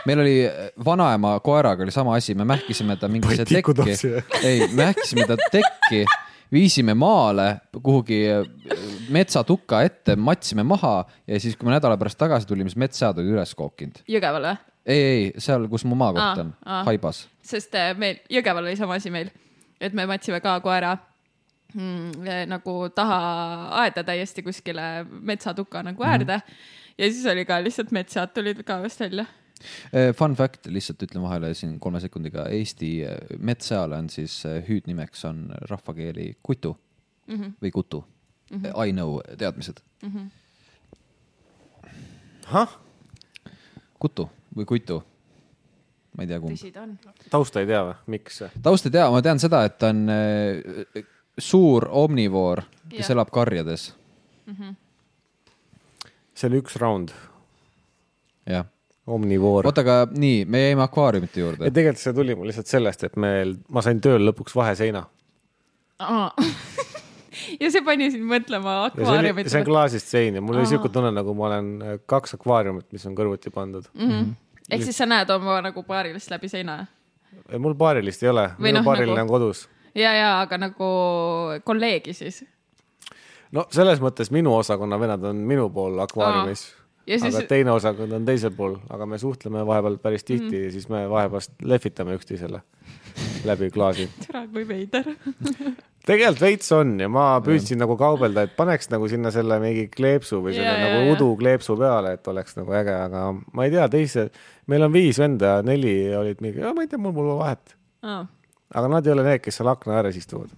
Speaker 1: meil oli äh, vanaema koeraga oli sama asi , me mähkisime ta mingisse
Speaker 2: Panid
Speaker 1: tekki
Speaker 2: tikutopsi või? ,
Speaker 1: ei , mähkisime ta tekki , viisime maale kuhugi äh, metsatuka ette , matsime maha ja siis , kui me nädala pärast tagasi tulime , siis metsad olid üles kookinud .
Speaker 3: Jõgeval või ?
Speaker 1: ei , ei seal , kus mu maakoht
Speaker 3: Aa,
Speaker 1: on ,
Speaker 3: aa.
Speaker 1: haibas .
Speaker 3: sest äh, meil Jõgeval oli sama asi meil , et me matsime ka koera mm, eh, nagu taha aeda täiesti kuskile metsatuka nagu
Speaker 2: Mhm.
Speaker 3: äärde mm . -hmm. ja siis oli ka lihtsalt metsad tulid kaevast välja .
Speaker 1: Eh, Fun fact , lihtsalt ütlen vahele siin kolme sekundiga , Eesti äh, metsajale on siis äh, hüüdnimeks on rahvakeeli kutu mm
Speaker 3: Mhm.
Speaker 1: -hmm. või kutu mm . -hmm. I know teadmised ,
Speaker 2: ahah ,
Speaker 1: kutu või kuitu . ma ei tea , kumb .
Speaker 3: tõsi ta on .
Speaker 2: tausta ei tea või , miks ?
Speaker 1: taust ei tea , ma tean seda , et ta on äh, suur omnivoor , kes
Speaker 3: Jah.
Speaker 1: elab karjades ,
Speaker 2: see oli üks round ,
Speaker 1: jah .
Speaker 2: omnivoor .
Speaker 1: oota , aga nii , me jäime akvaariumite
Speaker 2: ja
Speaker 1: juurde .
Speaker 2: tegelikult see tuli mul lihtsalt sellest , et meil , ma sain tööl lõpuks vaheseina .
Speaker 3: ja see pani sind mõtlema
Speaker 2: ja see oli ,
Speaker 3: akvaariumit .
Speaker 2: see on klaasist sein ja mul oli siuke tunne , nagu ma olen kaks akvaariumit , mis on kõrvuti pandud mm. .
Speaker 3: Mhm. ehk siis sa näed oma nagu paarilist läbi seina
Speaker 2: mul paarilist ei ole ,
Speaker 3: Või
Speaker 2: minu
Speaker 3: noh,
Speaker 2: paariline on
Speaker 3: nagu-
Speaker 2: kodus .
Speaker 3: ja , ja aga nagu kolleegi siis .
Speaker 2: no selles mõttes minu osakonna vennad on minu pool akvaariumis
Speaker 3: Aa. . Ja
Speaker 2: Siis...
Speaker 3: siis-
Speaker 2: aga teine osakond on teisel pool , aga me suhtleme vahepeal päris tihti
Speaker 3: Mhm.
Speaker 2: mm. ja siis me vahepeal lehvitame üksteisele läbi klaasi .
Speaker 3: türa kui veider .
Speaker 2: tegelikult veits on ja ma püüdsin nagu kaubelda , et paneks nagu sinna selle mingi kleepsu või selle
Speaker 3: Ja, ja,
Speaker 2: ja, nagu
Speaker 3: ja.
Speaker 2: udu kleepsu peale , et oleks nagu äge , aga ma ei tea , teise , meil on viis venda , neli olid mingi , ma ei tea , mul pole vahet . aga nad ei ole need , kes seal akna ääres istuvad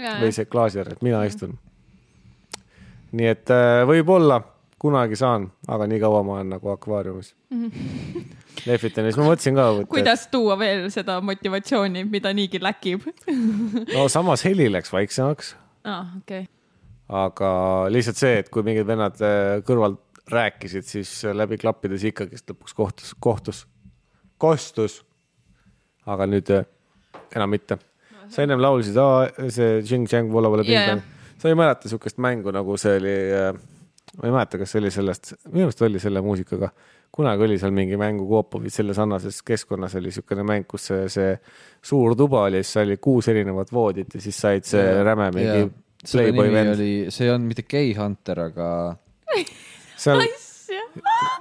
Speaker 3: Äh.
Speaker 2: või see klaasi ääres , mina istun . nii et äh, võib-olla kunagi saan , aga nii kaua ma olen nagu akvaariumis . lehvitan ja siis ma mõtlesin ka , et
Speaker 3: kuidas tuua veel seda motivatsiooni , mida niigi läkib ?
Speaker 2: no samas heli läks vaiksemaks ,
Speaker 3: aa , okei .
Speaker 2: aga lihtsalt see , et kui mingid vennad äh, kõrvalt rääkisid , siis äh, läbi klappides ikkagist lõpuks kohtus , kohtus , kostus . aga nüüd äh, enam mitte . sa ennem laulsid , see Xing-Chang volavale
Speaker 3: Jajah.
Speaker 2: pingpong . sa ei mäleta sihukest mängu nagu see oli , ma ei mäleta , kas see oli sellest , minu arust oli selle muusikaga . kunagi oli seal mingi mängu Koopovit selles sarnases keskkonnas oli siukene mäng , kus see, see suur tuba oli , siis oli kuus erinevat voodit ja siis said see räme mingi
Speaker 1: selle
Speaker 2: Playboy
Speaker 1: nimi
Speaker 2: vend .
Speaker 1: oli , see ei olnud mitte Gay Hunter , aga
Speaker 2: seal ,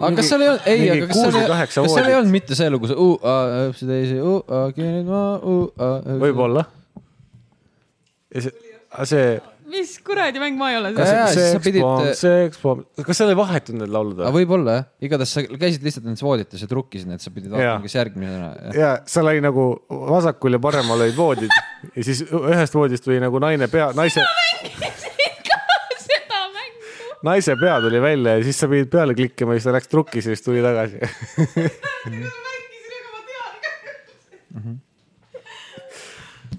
Speaker 1: aga kas seal ei olnud , ei ,
Speaker 2: mingi
Speaker 1: aga kas
Speaker 2: kuus või
Speaker 1: seal ei olnud , kas
Speaker 2: kaheksa
Speaker 1: seal ei
Speaker 2: voodit.
Speaker 1: olnud mitte see lugu , see uh, uh, hüpsi teisi , uh, uh, kinni ma , uh, uh .
Speaker 2: võib-olla . ja see , see ,
Speaker 3: mis kuradi mäng ma ei ole
Speaker 1: Kas-
Speaker 3: seda .
Speaker 1: jaa, siis sa pidid- äh, Ah,
Speaker 2: sekspomb , sekspomb , kas seal ei vahetunud need laulud
Speaker 1: aga
Speaker 2: või ?
Speaker 1: võib-olla jah , igatahes sa käisid lihtsalt nendes voodites ja trukkisid need , sa pidid
Speaker 2: Jaa.
Speaker 1: vaatama , kes järgmisena .
Speaker 2: ja seal oli nagu vasakul ja paremal olid voodid ja siis ühest voodist tuli nagu naine pea , naise ,
Speaker 3: seda mängu .
Speaker 2: naise pea tuli välja ja siis sa pidid peale klikkima ja siis ta läks trukki ja siis tuli tagasi .
Speaker 4: märkisin , ega ma tean .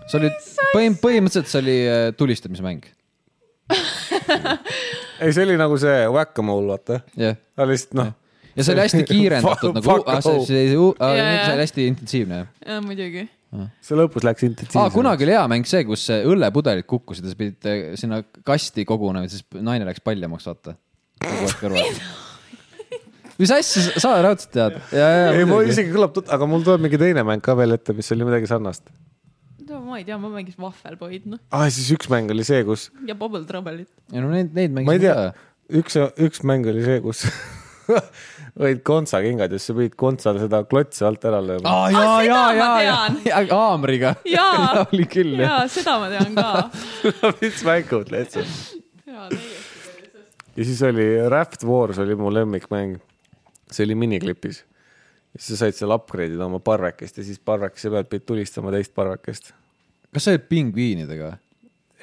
Speaker 1: see oli põhim- , põhimõtteliselt see oli äh, tulistamismäng ,
Speaker 2: ei , see oli nagu see whack-a-mole , vaata .
Speaker 1: jah .
Speaker 2: aga lihtsalt noh ,
Speaker 1: ja see oli hästi kiirendatud nagu ,
Speaker 2: Fuck, fuck,
Speaker 1: see
Speaker 2: oh.
Speaker 1: see- see- uh, ah,
Speaker 3: Jaa,
Speaker 1: see
Speaker 3: jaa.
Speaker 1: oli hästi intensiivne jah .
Speaker 3: jaa , muidugi .
Speaker 2: see lõpus läks
Speaker 1: aa ,
Speaker 2: intensiivsemaks .
Speaker 1: Ah, kunagi oli hea mäng see , kus äh, õllepudelid kukkusid ja sa pidid äh, sinna kasti kogunema , siis naine läks paljemaks , vaata . mis asja sa- sa raudselt tead ?
Speaker 2: ei , mul isegi kõlab , aga mul tuleb mingi teine mäng ka veel ette , mis oli midagi sarnast .
Speaker 3: no ma ei tea , ma mängisin Wahvelboid , noh ,
Speaker 2: aa , Ah, siis üks mäng oli see , kus ,
Speaker 3: ja Bubble Trouble'it .
Speaker 1: ei no neid , neid
Speaker 2: ma ei
Speaker 1: mängisid
Speaker 2: tea
Speaker 1: ka .,
Speaker 2: üks , üks mäng oli see , kus olid kontsakingad ja siis sa pidid kontsal seda klotsi alt ära lööma .
Speaker 1: aa ,
Speaker 3: Aa,
Speaker 1: jaa ,
Speaker 3: Ah, seda
Speaker 1: jaa ,
Speaker 3: ma
Speaker 1: jaa , jaa , haamriga .
Speaker 3: jaa
Speaker 1: oli küll jah .
Speaker 3: jaa , seda ma tean ka .
Speaker 2: mis mängud lihtsalt .
Speaker 3: jaa , täiesti .
Speaker 2: ja siis oli Raft Wars oli mu lemmikmäng . see oli miniklipis . siis sa said seal upgrade ida oma parvekest ja siis parvekese pealt pidid tulistama teist parvekest .
Speaker 1: kas see oli pingviinidega või ?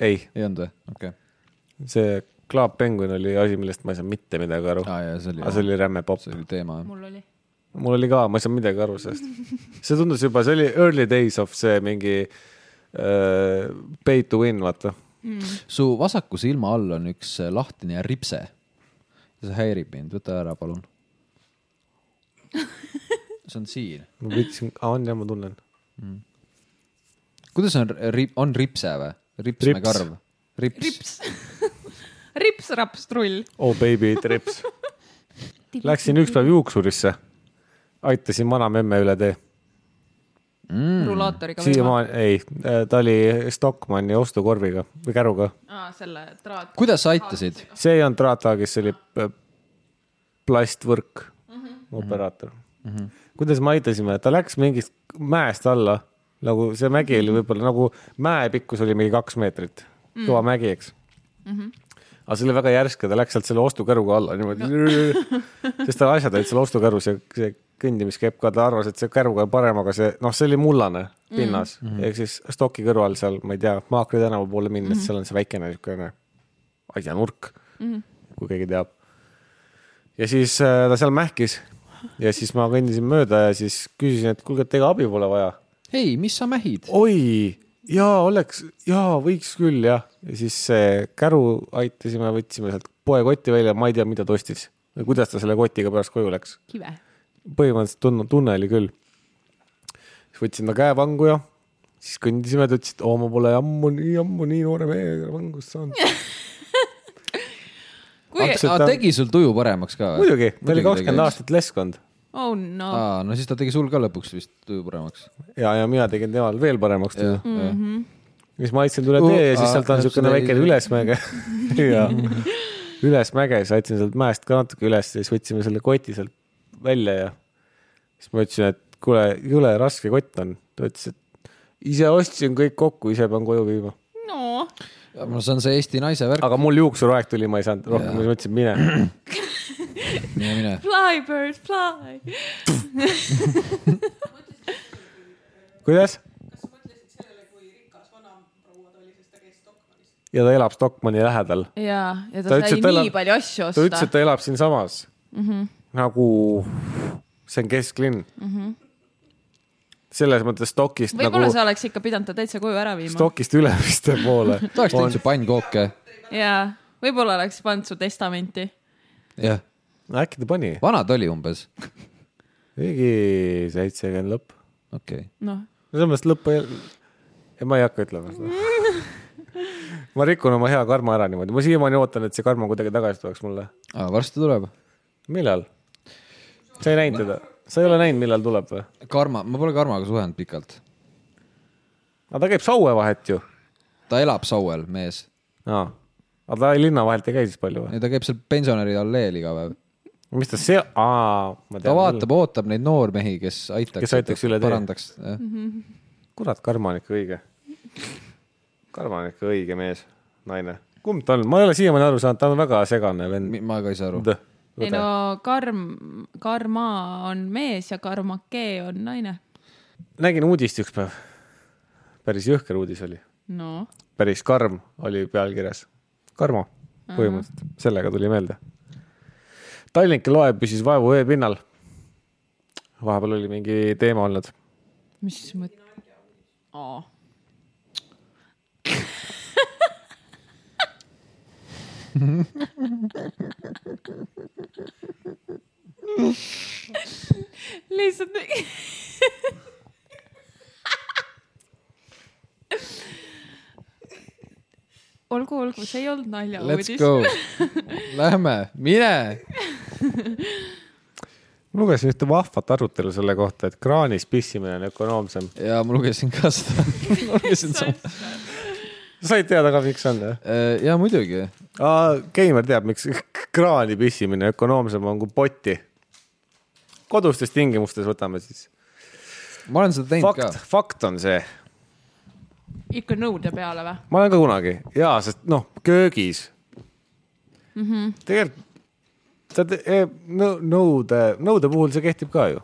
Speaker 2: ei ,
Speaker 1: ei olnud või ? okei okay. .
Speaker 2: see klaappenguin oli asi , millest ma ei saanud mitte midagi aru .
Speaker 1: aa , jaa , see
Speaker 2: aga see
Speaker 1: oli ,
Speaker 2: oli räme popp
Speaker 1: see . oli teema .
Speaker 3: mul oli .
Speaker 2: mul oli ka , ma ei saanud midagi aru sellest . see tundus juba , see oli early days of see mingi uh, pay to win , vaata .
Speaker 1: su vasaku silma all on üks eh, lahtine ripse . see häirib mind , võta ära , palun . see on siin .
Speaker 2: ma võtsin , on jah , ma tunnen .
Speaker 1: kuidas on , on ripse või ? ripsmekarv ? rips, rips. .
Speaker 3: rips . rips-raps-trull .
Speaker 2: oh baby trips . Läksin üks päev juuksurisse , aitasin vana memme üle tee .
Speaker 3: rulaatoriga või ?
Speaker 2: siiamaani , ei , ta oli Stockmanni ostukorviga või käruga .
Speaker 3: aa , selle traat .
Speaker 1: kuidas sa aitasid ?
Speaker 2: see ei olnud Trata , kes oli p- plastvõrk mm -hmm. operaator mm . -hmm. kuidas me aitasime , ta läks mingist mäest alla , nagu see mägi oli võib-olla nagu mäe pikkus oli mingi kaks meetrit mm. , kõva mägi , eks mm . -hmm. aga see oli väga järsk ja ta läks sealt selle ostukäruga alla niimoodi no. , sest tal asjad olid seal ostukärus ja see kõndimiskepp ka , ta arvas , et see käruga on parem , aga see noh , see oli mullane pinnas mm -hmm. ehk siis Stocki kõrval seal , ma ei tea , Maakri tänava poole minnes mm , -hmm. seal on see väikene niisugune asjanurk mm , -hmm. kui keegi teab . ja siis äh, ta seal mähkis ja siis ma kõndisin mööda ja siis küsisin , et kuulge , et ega abi pole vaja .
Speaker 1: ei , mis sa mähid ?
Speaker 2: oi , jaa , oleks , jaa , võiks küll jah . ja siis see käru aitasime , võtsime sealt poekoti välja , ma ei tea , mida ta ostis või kuidas ta selle kotiga pärast koju läks .
Speaker 3: kive .
Speaker 2: põhimõtteliselt tunne , tunne oli küll . siis võtsin ta käevangu ja siis kõndisime , ta ütles , et oo , ma pole ammu nii , ammu nii noore mehega vangust saanud .
Speaker 3: kui ,
Speaker 2: Absol-
Speaker 1: aga Ah, tegi sul tuju paremaks ka või ?
Speaker 2: muidugi , ta oli kakskümmend . aastat leskkond
Speaker 3: oh no .
Speaker 1: aa , no siis ta tegi sul ka lõpuks vist tuju paremaks .
Speaker 2: ja , ja mina tegin temal veel paremaks tuju .
Speaker 1: Mm -hmm.
Speaker 4: Mhm.
Speaker 2: siis ma aitasin üle
Speaker 1: Uh,
Speaker 2: tee ja siis
Speaker 1: aa,
Speaker 2: sealt on
Speaker 1: täpselt
Speaker 2: niisugune
Speaker 1: oli-
Speaker 2: väike ülesmäge . ja ülesmäge , siis aitasin sealt mäest ka natuke üles ja siis võtsime selle koti sealt välja ja siis ma ütlesin , et kuule , jõle raske kott on . ta ütles , et ise ostsin kõik kokku , ise pean koju viima .
Speaker 3: no .
Speaker 1: no see on see Eesti naise värk ,
Speaker 2: aga mul juuksuraeg tuli , ma ei saanud rohkem , siis ma ütlesin , mine .
Speaker 1: mine mine .
Speaker 3: Fly bird fly .
Speaker 2: kuidas ?
Speaker 4: kas sa mõtlesid sellele , kui rikas vanaproua ta oli , sest ta käis Stockmannis ?
Speaker 2: ja ta elab Stockmanni lähedal .
Speaker 3: jaa , ja
Speaker 2: Ta
Speaker 3: ta, ta
Speaker 2: ütles,
Speaker 3: sai
Speaker 2: et tal
Speaker 3: nii
Speaker 2: on-
Speaker 3: palju asju
Speaker 2: ta ütles , et
Speaker 3: osta .
Speaker 2: ta elab siinsamas mm . -hmm. nagu , see on kesklinn mm . -hmm. selles mõttes Stockist
Speaker 3: võib-olla
Speaker 2: nagu
Speaker 3: sa oleks ikka pidanud ta täitsa koju ära viima .
Speaker 2: Stockist Ülemiste poole
Speaker 1: ta oleks teinud su pannkooke .
Speaker 3: jaa , võib-olla oleks pannud su testamenti .
Speaker 1: jah ,
Speaker 2: No äkki ta pani ,
Speaker 1: vana ta oli umbes .
Speaker 2: mingi seitsekümmend lõpp .
Speaker 1: okei okay. .
Speaker 3: noh ,
Speaker 2: selles mõttes lõppu ei , ei ma ei hakka ütlema seda . ma rikun oma hea karma ära niimoodi , ma siiamaani ootan , et see karm kuidagi tagasi tuleks mulle .
Speaker 1: aga varsti tuleb .
Speaker 2: millal ? sa ei näinud teda , sa ei ole näinud , millal tuleb või ?
Speaker 1: Karma , ma pole Karmaga suhelnud pikalt .
Speaker 2: aga ta käib Saue vahet ju .
Speaker 1: ta elab Sauel , mees .
Speaker 2: aga ta linna vahelt ei käi siis palju või ?
Speaker 1: ja ta käib seal pensionäri alleel iga päev .
Speaker 2: mis ta see , aa , ma
Speaker 1: ta
Speaker 2: tean .
Speaker 1: vaatab , ootab neid noormehi , kes aitaks .
Speaker 2: Kes aitaks üle tee.
Speaker 1: parandaks .
Speaker 2: kurat , karm on ikka õige . karm on ikka õige mees , naine . kumb ta on , ma ei ole siiamaani aru saanud , ta on väga segane vend .
Speaker 1: ma ka ei saa aru .
Speaker 3: ei no karm , karma on mees ja karmakee on naine .
Speaker 2: nägin uudist üks päev . päris jõhker uudis oli ,
Speaker 3: no
Speaker 2: päris karm oli pealkirjas . Karmo ,
Speaker 3: Mhm.
Speaker 2: põhimõtteliselt , sellega tuli meelde . Tallinki loe püsis vaevu veepinnal . vahepeal oli mingi teema olnud .
Speaker 3: mis mõt- ? aa , lihtsalt . olgu , olgu , see ei olnud
Speaker 1: Let's
Speaker 3: naljauudis .
Speaker 1: go . Lähme , mine .
Speaker 2: lugesin ühte vahvat arutelu selle kohta , et kraanis pissimine on ökonoomsem .
Speaker 1: ja ma lugesin ka seda . lugesin sama .
Speaker 2: said teada ka , miks on või ?
Speaker 1: ja muidugi .
Speaker 2: Keimer teab , miks kraani pissimine ökonoomsem on kui potti . kodustes tingimustes võtame siis .
Speaker 1: ma olen seda teinud
Speaker 2: fakt
Speaker 1: ka .,
Speaker 2: fakt on see ,
Speaker 3: ikka nõude peale või ?
Speaker 2: ma olen ka kunagi ja , sest noh , köögis mm -hmm. . tegelikult sa te- eh, nõ- nõude , nõude puhul see kehtib ka ju .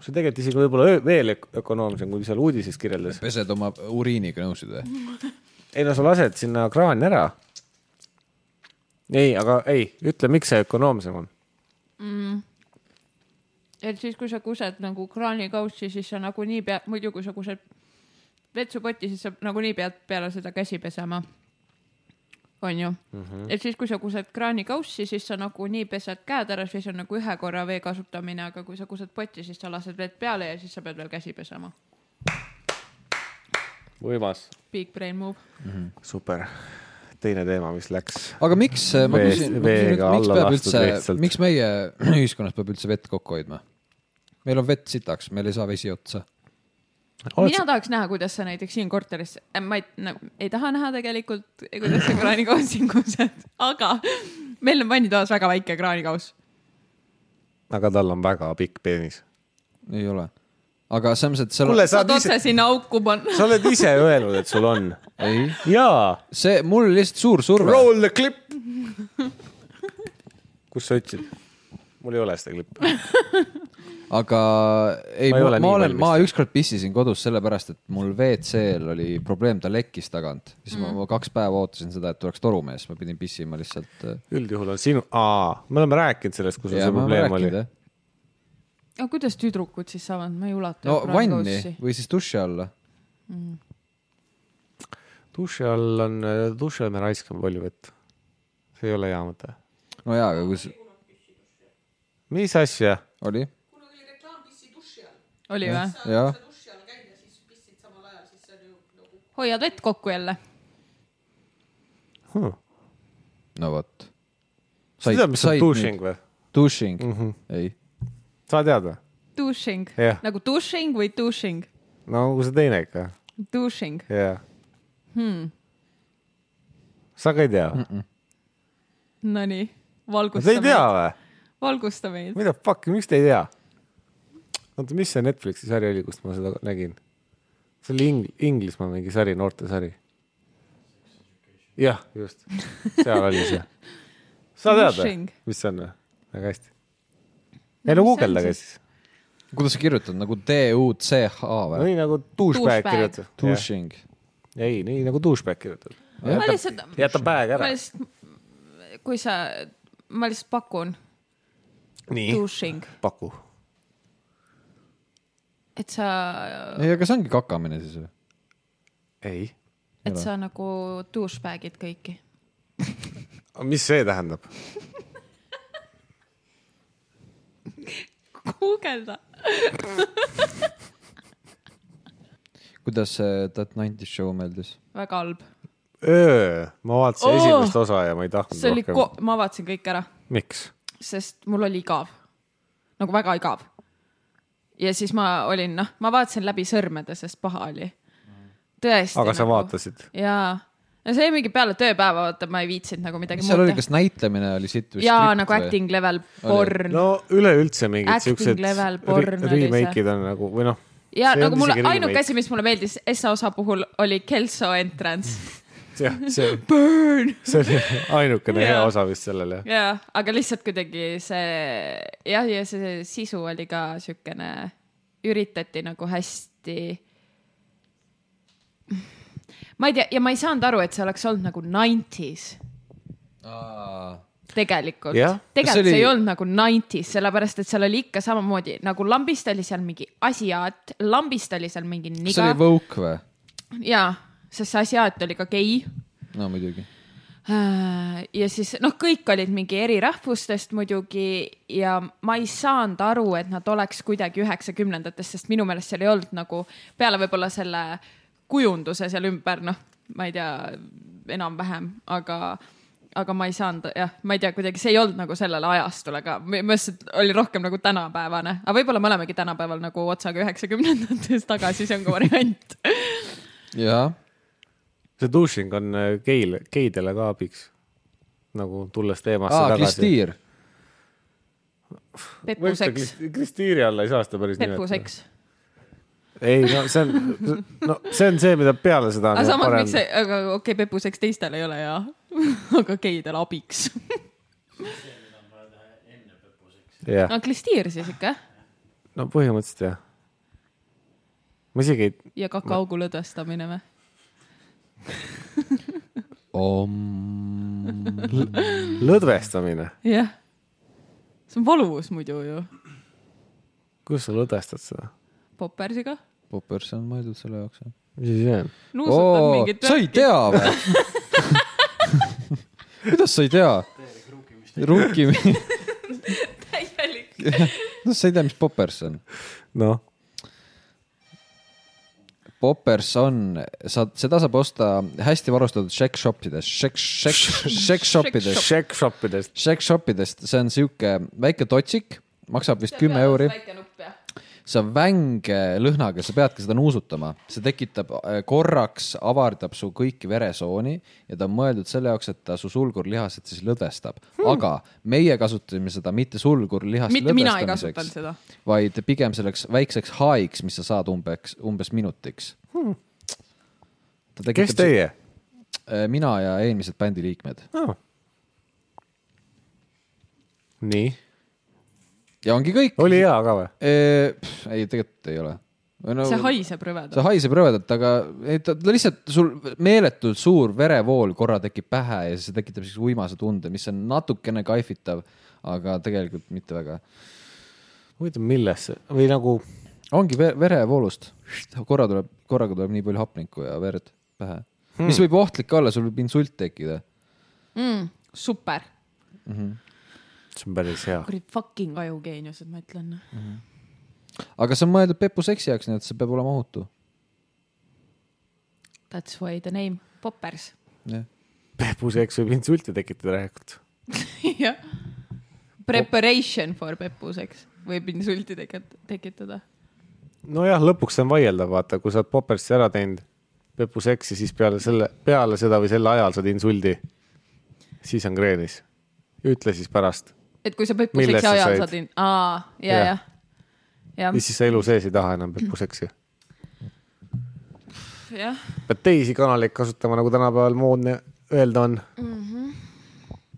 Speaker 2: see on tegelikult isegi võib-olla öö- veel ök- ökonoomsem , kui seal uudises kirjeldas .
Speaker 1: pesed oma uriiniga nõusid või ?
Speaker 2: ei no sa lased sinna kraani ära . ei , aga ei , ütle , miks see ökonoomsem on .
Speaker 3: et siis , kui sa kused nagu kraanikaussi , siis sa nagunii pead , muidu kui sa kused vetsupotti , siis sa nagunii pead peale seda käsi pesema . onju mm , -hmm. et siis , kui sa kused kraanikaussi , siis sa nagunii pesed käed ära , siis on nagu ühe korra vee kasutamine , aga kui sa kused potti , siis sa lased vett peale ja siis sa pead veel käsi pesema .
Speaker 2: võimas
Speaker 3: Big brain move .
Speaker 2: super , teine teema , mis läks .
Speaker 1: aga miks , ma
Speaker 2: Vee-
Speaker 1: küsin , miks
Speaker 2: veega alla
Speaker 1: peab
Speaker 2: lastud
Speaker 1: üldse ,
Speaker 2: lihtsalt.
Speaker 1: miks meie ühiskonnas peab üldse vett kokku hoidma ? meil on vett sitaks , meil ei saa vesi otsa .
Speaker 3: Oled... mina tahaks näha , kuidas sa näiteks siin korteris , ma ei, no, ei taha näha tegelikult , kuidas sa kraanikauss siin kused , aga meil on vannitoas väga väike kraanikauss .
Speaker 2: aga tal on väga pikk peenis .
Speaker 1: ei ole . aga selles mõttes , et seal
Speaker 2: kuule , sa
Speaker 3: saad
Speaker 2: oled
Speaker 3: otse
Speaker 2: ise ,
Speaker 3: sinna auku panna .
Speaker 2: sa oled ise öelnud , et sul on .
Speaker 1: ei ,
Speaker 2: jaa .
Speaker 1: see , mul oli lihtsalt suur surve .
Speaker 2: Roll the clip . kus sa ütlesid ? mul ei ole seda klippi .
Speaker 1: aga ei ,
Speaker 2: Ma
Speaker 1: ma,
Speaker 2: ei
Speaker 1: ma,
Speaker 2: ole
Speaker 1: ma
Speaker 2: nii
Speaker 1: olen , ma
Speaker 2: valmis.
Speaker 1: ükskord pissisin kodus sellepärast , et mul WC-l oli probleem , ta lekkis tagant . siis mm. ma, ma kaks päeva ootasin seda , et tuleks torumees , ma pidin pissima lihtsalt . äh,
Speaker 2: üldjuhul on sinu , aa , me oleme rääkinud sellest , kus sul see probleem oli .
Speaker 3: aga kuidas tüdrukud siis saavad , ma ei ulatu .
Speaker 1: no vanni . või siis duši alla .
Speaker 2: duši all on , duši all me raiskame palju vett . see ei ole hea mõte .
Speaker 1: no jaa , aga kus
Speaker 2: mis asja ?
Speaker 1: oli ?
Speaker 4: kunagi oli reklaam pissi duši all .
Speaker 3: oli või ?
Speaker 1: jah ,
Speaker 4: sa duši all käid ja siis pissid samal ajal , siis see on ju nagu .
Speaker 3: hoiad vett kokku jälle .
Speaker 1: no vot .
Speaker 2: sa tead , mis on dušing ? või ? Mhm.
Speaker 1: Dushing mm , -hmm. ei .
Speaker 2: sa tead või ?
Speaker 3: Dushing
Speaker 2: Jah.
Speaker 3: nagu dushing või dushing ?
Speaker 2: no nagu see teine ikka
Speaker 3: Dushing .
Speaker 2: jaa hmm. . sa ka ei tea või ?
Speaker 3: Nonii ,
Speaker 2: sa
Speaker 3: valgusta
Speaker 2: ei tea
Speaker 3: meid ,
Speaker 2: või ?
Speaker 3: valgusta meid .
Speaker 2: mida fuck'i , miks te ei tea ? oota , mis see Netflixi sari oli , kust ma seda nägin ? see oli Ing- , Inglismaa mingi sari , noortesari . jah , just , seal oli see . sa tead või
Speaker 3: Pushing. ,
Speaker 2: mis see on või ? väga hästi . ei no guugeldage siis ,
Speaker 1: kuidas sa kirjutad nagu D-U-C-H või ?
Speaker 2: nii nagu douchebag
Speaker 3: Douchebag.
Speaker 2: kirjutab .
Speaker 1: Dushing .
Speaker 2: ei , nii nagu douchebag kirjutab .
Speaker 3: ma lihtsalt ,
Speaker 2: jäta bag
Speaker 3: ma
Speaker 2: ära .
Speaker 3: lihtsalt , kui sa , ma lihtsalt pakun
Speaker 2: nii ,
Speaker 3: dushing ,
Speaker 2: paku .
Speaker 3: et sa ,
Speaker 1: ei , aga see ongi kakamine siis või ?
Speaker 2: ei .
Speaker 3: et sa nagu douchebag'id kõiki .
Speaker 2: mis see tähendab ?
Speaker 3: guugelda .
Speaker 1: kuidas see That 90's Show meeldis ?
Speaker 3: väga halb .
Speaker 2: öö , ma vaatasin
Speaker 3: Oo!
Speaker 2: oh! esimest osa ja ma ei tahtnud
Speaker 3: see oli
Speaker 2: rohkem .
Speaker 3: ko- , ma avastasin kõik ära
Speaker 2: miks ?
Speaker 3: sest mul oli igav , nagu väga igav . ja siis ma olin noh , ma vaatasin läbi sõrmede , sest paha oli . tõesti .
Speaker 2: aga
Speaker 3: nagu.
Speaker 2: sa vaatasid ?
Speaker 3: jaa , no see oli mingi peale tööpäeva , vaata , ma ei viitsinud nagu midagi
Speaker 1: mis seal oli ,
Speaker 3: teha.
Speaker 1: kas näitlemine oli sitt või ?
Speaker 3: jaa , nagu acting level porn no, .
Speaker 2: no üleüldse mingid
Speaker 3: Acting
Speaker 2: siuksed
Speaker 3: level
Speaker 2: re-
Speaker 3: porn oli
Speaker 2: remake'id on nagu või noh .
Speaker 3: ja nagu mulle ainuke . asi , mis mulle meeldis Essa osa puhul oli Kelso entrance
Speaker 2: jah , see ,
Speaker 3: Burn .
Speaker 2: see oli ainukene hea
Speaker 3: Jaa.
Speaker 2: osa vist sellel jah .
Speaker 3: jaa , aga lihtsalt kuidagi see jah , ja see sisu oli ka siukene , üritati nagu hästi . ma ei tea ja ma ei saanud aru , et see oleks olnud nagu nineties , tegelikult
Speaker 2: Jah. ,
Speaker 1: See
Speaker 3: tegelikult
Speaker 1: oli-
Speaker 3: see ei olnud nagu nineties , sellepärast et seal oli ikka samamoodi nagu lambist oli seal mingi asiaat , lambist oli seal mingi
Speaker 1: kas see
Speaker 3: niga
Speaker 1: oli Vogue või ?
Speaker 3: ja , sest see asiaat oli ka gei .
Speaker 1: no muidugi .
Speaker 3: ja siis noh , kõik olid mingi eri rahvustest muidugi ja ma ei saanud aru , et nad oleks kuidagi üheksakümnendates , sest minu meelest seal ei olnud nagu peale võib-olla selle kujunduse seal ümber , noh , ma ei tea , enam-vähem , aga , aga ma ei saanud jah , ma ei tea , kuidagi see ei olnud nagu sellele ajastule ka , ma lihtsalt oli rohkem nagu tänapäevane , aga võib-olla me olemegi tänapäeval nagu otsaga üheksakümnendates tagasi , see on ka variant .
Speaker 1: jaa ,
Speaker 2: see dušing on äh, geil , geidele ka abiks . nagu tulles teemasse
Speaker 1: aa ,
Speaker 2: tagasi .
Speaker 1: Kristiir .
Speaker 3: pepuseks ,
Speaker 2: Kristiiri alla ei saa seda päris nimetada .
Speaker 3: pepuseks .
Speaker 2: ei , no see on , no see on nagu see , mida peale seda .
Speaker 3: aga samas , miks see , aga okei okay, , pepuseks teistel ei ole hea , aga geidel abiks .
Speaker 2: jah ,
Speaker 3: no klistiir siis ikka
Speaker 2: no põhimõtteliselt jah . ma isegi ei ,
Speaker 3: ja kakaogu lõdvestamine või ?
Speaker 1: Om ,
Speaker 2: lõdvestamine ,
Speaker 3: jah , see on valus muidu ju ,
Speaker 2: kus sa lõdvestad seda ?
Speaker 3: poppersiga .
Speaker 1: Poppers on mõeldud selle jaoks .
Speaker 2: mis asi see on ?
Speaker 3: nuusutad mingit
Speaker 1: sa ei tea või ? kuidas sa ei tea ? rukkimine ,
Speaker 3: täielik .
Speaker 1: no sa ei tea , mis poppers on ?
Speaker 2: noh ,
Speaker 1: poppers on , saad , seda saab osta hästi varustatud Shack shop ides , Shack , Shack , Shack shop ides ,
Speaker 2: Shack Shop idest .
Speaker 1: Shack shop idest , see on sihuke väike totsik , maksab vist kümme euri .
Speaker 3: väike nupp jah .
Speaker 1: see on vänge lõhnaga , sa peadki seda nuusutama , see tekitab äh, korraks , avardab su kõiki veresooni ja ta on mõeldud selle jaoks , et ta su sulgurlihased siis lõdvestab hmm. . aga meie kasutasime seda mitte sulgurlihast
Speaker 3: Mitte mina ei kasutanud seda. ,
Speaker 1: vaid pigem selleks väikseks haiks , mis sa saad umbes , umbes minutiks hmm. .
Speaker 2: kes ? teie ?
Speaker 1: äh, mina ja eelmised bändi liikmed
Speaker 2: nii ,
Speaker 1: ja ongi kõik .
Speaker 2: oli hea ka või ?
Speaker 1: ei , tegelikult ei ole .
Speaker 3: see haiseb rõvedalt .
Speaker 1: see haiseb rõvedalt , aga ei, ta, ta lihtsalt sul meeletult suur verevool korra tekib pähe ja see tekitab siis uimase tunde , mis on natukene kaifitav , aga tegelikult mitte väga .
Speaker 2: huvitav , millest see või nagu ,
Speaker 1: ongi ve verevoolust , korra tuleb , korraga tuleb nii palju hapnikku ja verd pähe hmm. , mis võib ohtlik olla , sul võib insult tekkida .
Speaker 3: Mm, super ,
Speaker 2: see on päris hea .
Speaker 3: kuradi fucking ajugeeniused , ma ütlen .
Speaker 1: aga see on mõeldud pepuseksi jaoks , nii et see peab olema ohutu .
Speaker 3: That's why the name poppers .
Speaker 2: pepuseks võib insulti tekitada tegelikult .
Speaker 3: jah . Preparation for pepuseks võib insulti teket- tekitada
Speaker 2: nojah , lõpuks see on vaieldav , vaata , kui sa oled popersi ära teinud , pepuseksi , siis peale selle , peale seda või selle ajal saad insuldi . siis on kreenis . ütle siis pärast
Speaker 3: et kui sa
Speaker 2: Millest
Speaker 3: pepuseks
Speaker 2: sa
Speaker 3: ajal
Speaker 2: said?
Speaker 3: saad , aa , ja ,
Speaker 2: Jah.
Speaker 3: ja , jah ,
Speaker 2: ja siis sa elu sees ei taha enam pepuseksi .
Speaker 3: jah ,
Speaker 2: pead teisi kanaleid kasutama , nagu tänapäeval moodne öelda on .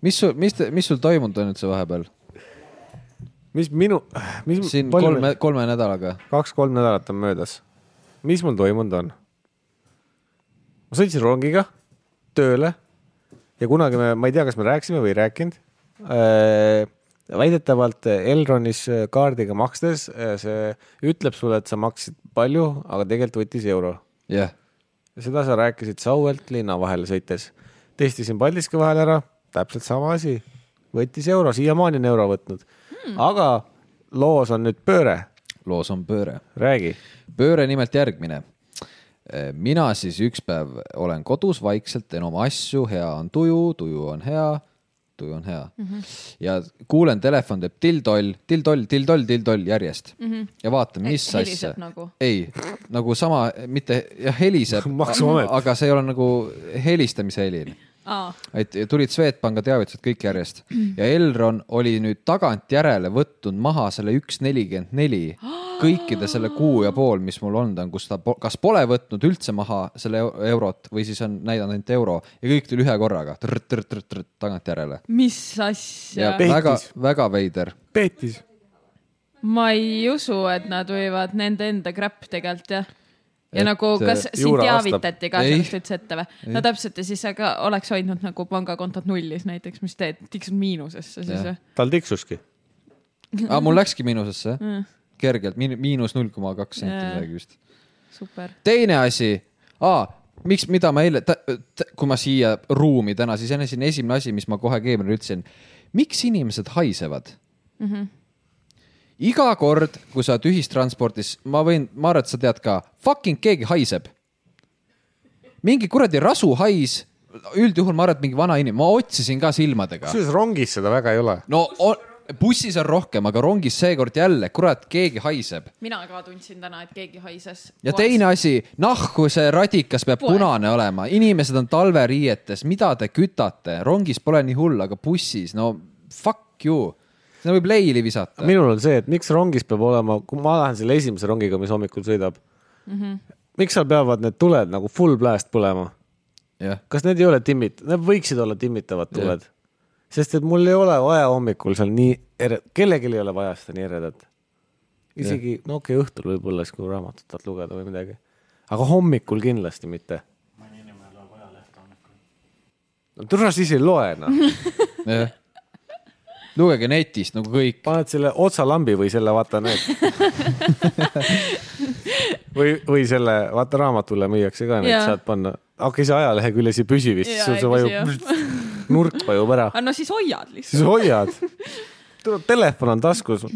Speaker 1: mis sul , mis , mis sul toimunud on üldse vahepeal ?
Speaker 2: mis minu , mis
Speaker 1: siin kolme ,, kolme nädalaga .
Speaker 2: kaks-kolm nädalat on möödas . mis mul toimunud on ? ma sõitsin rongiga tööle ja kunagi me , ma ei tea , kas me rääkisime või ei rääkinud . väidetavalt Elronis äh, kaardiga makstes äh, see ütleb sulle , et sa maksid palju , aga tegelikult võttis euro .
Speaker 1: jah yeah. ,
Speaker 2: seda sa rääkisid Sauelt linna vahele sõites . testisin Paldiski vahel ära , täpselt sama asi . võttis euro , siiamaani on euro võtnud hmm. . aga loos on nüüd pööre ,
Speaker 1: loos on pööre
Speaker 2: räägi
Speaker 1: pööre nimelt järgmine . mina siis üks päev olen kodus vaikselt , teen oma asju , hea on tuju , tuju on hea , tuju on hea mm .
Speaker 3: Mhm.
Speaker 1: -hmm. ja kuulen , telefon teeb till-toll , till-toll , till-toll , till-toll järjest mm -hmm. ja vaatan , mis
Speaker 3: Eh, Mhm. heliseb
Speaker 1: asja .
Speaker 3: nagu?
Speaker 1: ei , nagu sama , mitte , jah , heliseb
Speaker 2: Maksuamet. ,
Speaker 1: aga see ei ole nagu helistamise helin
Speaker 3: aa ,
Speaker 1: et tulid Swedbanka teavitused kõik järjest ja Elron oli nüüd tagantjärele võtnud maha selle üks nelikümmend neli kõikide selle kuu ja pool , mis mul olnud on , kus ta po kas pole võtnud üldse maha selle eu- eurot või siis on näidanud ainult euro ja kõik tuli ühe korraga trr, trr, trr, trr, tagantjärele
Speaker 3: mis
Speaker 1: ja
Speaker 3: asja ,
Speaker 2: Pe- Pehtis.
Speaker 1: väga-väga veider .
Speaker 2: peetis .
Speaker 3: ma ei usu , et nad võivad nende enda crap tegelikult jah , ja et, nagu , kas sind
Speaker 2: äh, Juura vastab.
Speaker 3: teavitati ka
Speaker 1: Ei.
Speaker 3: sellest üldse ette või ? no täpselt ja siis sa ka oleks hoidnud nagu pangakontot nullis näiteks , mis teed , tiksud miinusesse siis
Speaker 1: Jah.
Speaker 3: või ?
Speaker 2: tal tiksuski .
Speaker 1: aga Ah, mul läkski miinusesse kergelt , miinus null koma kaks senti
Speaker 3: Jaa.
Speaker 1: midagi vist .
Speaker 3: super .
Speaker 1: teine asi , miks , mida ma eile , kui ma siia ruumi täna , siis enne siin esimene asi , mis ma kohe keemiale ütlesin , miks inimesed haisevad mm ? -hmm. iga kord , kui sa oled ühistranspordis , ma võin , ma arvan , et sa tead ka , fucking keegi haiseb . mingi kuradi rasuhais , üldjuhul ma arvan , et mingi vana inimene , ma otsisin ka silmadega .
Speaker 2: kusjuures rongis seda väga ei ole .
Speaker 1: no on, bussis on rohkem , aga rongis seekord jälle , kurat , keegi haiseb .
Speaker 3: mina ka tundsin täna , et keegi haises .
Speaker 1: ja teine asi , nahku see radikas peab
Speaker 3: Poes.
Speaker 1: punane olema , inimesed on talveriietes , mida te kütate , rongis pole nii hull , aga bussis , no fuck you , seda võib leili visata .
Speaker 2: minul on see , et miks rongis peab olema , kui ma lähen selle esimese rongiga , mis hommikul sõidab mm . -hmm. miks seal peavad need tuled nagu full blast põlema ?
Speaker 1: jah ,
Speaker 2: kas need ei ole timmit- , need võiksid olla timmitavad tuled ? sest et mul ei ole vaja hommikul seal nii ere- , kellelgi ei ole vaja seda nii eredat . isegi , no okei okay, , õhtul võib-olla siis , kui raamatut tahad lugeda või midagi . aga hommikul kindlasti mitte . no tule siis ei loe noh .
Speaker 1: jah . lugege netist nagu kõik ,
Speaker 2: paned selle otsalambi või selle , vaata need . või , või selle , vaata raamatule müüakse ka neid ,
Speaker 3: Jaa.
Speaker 2: saad panna . okei , see ajalehe küljes ei püsi vist ,
Speaker 3: Jaa,
Speaker 2: sul see
Speaker 3: ei
Speaker 2: vajub , nurk vajub ära ,
Speaker 3: aga no siis hoiad
Speaker 2: siis
Speaker 3: lihtsalt .
Speaker 2: hoiad . telefon on taskus .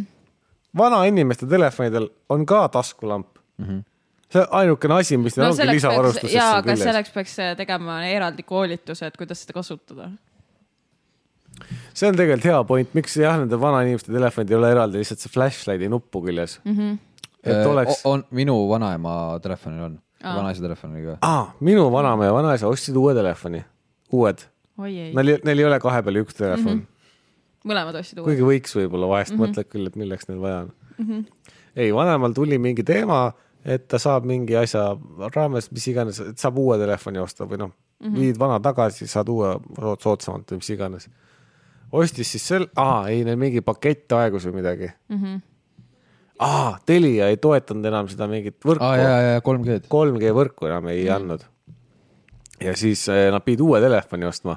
Speaker 2: vanainimeste telefonidel on ka taskulamp mm . -hmm. see on ainukene asi , mis neil no, ongi lisavarustuses
Speaker 3: jaa ,
Speaker 2: seal
Speaker 3: aga
Speaker 2: küljes selleks... .
Speaker 3: selleks peaks äh, tegema eraldi koolituse , et kuidas seda kasutada .
Speaker 2: see on tegelikult hea point , miks jah , nende vanainimeste telefonid ei ole eraldi , lihtsalt see flashlight'i nuppu küljes mm .
Speaker 3: Mhm.
Speaker 2: -hmm. et oleks .
Speaker 1: Äh, on minu vanaema telefonil on , vanaisa telefonil ka .
Speaker 2: ah, . minu vanaema ja vanaisa ostsid uue telefoni , uued .
Speaker 3: oi ei ,
Speaker 2: Neil , neil ei ole kahe peale üks telefon mm , -hmm.
Speaker 3: mõlemad ostsid uue .
Speaker 2: kuigi võiks võib-olla vahest mm -hmm. mõtled küll , et milleks neil vaja on mm . -hmm. ei , vanemal tuli mingi teema , et ta saab mingi asja raames , mis iganes , et saab uue telefoni osta või noh mm -hmm. , viid vana tagasi , saad uue sood- soodsamalt või mis iganes . ostis siis sel- , aa ei , neil mingi pakett aegus või midagi mm . -hmm. aa , Telia ei toetanud enam seda mingit võrku
Speaker 1: aa ja , ja kolm G-d ,
Speaker 2: 3G võrku enam ei andnud . ja siis eh, nad pidid uue telefoni ostma .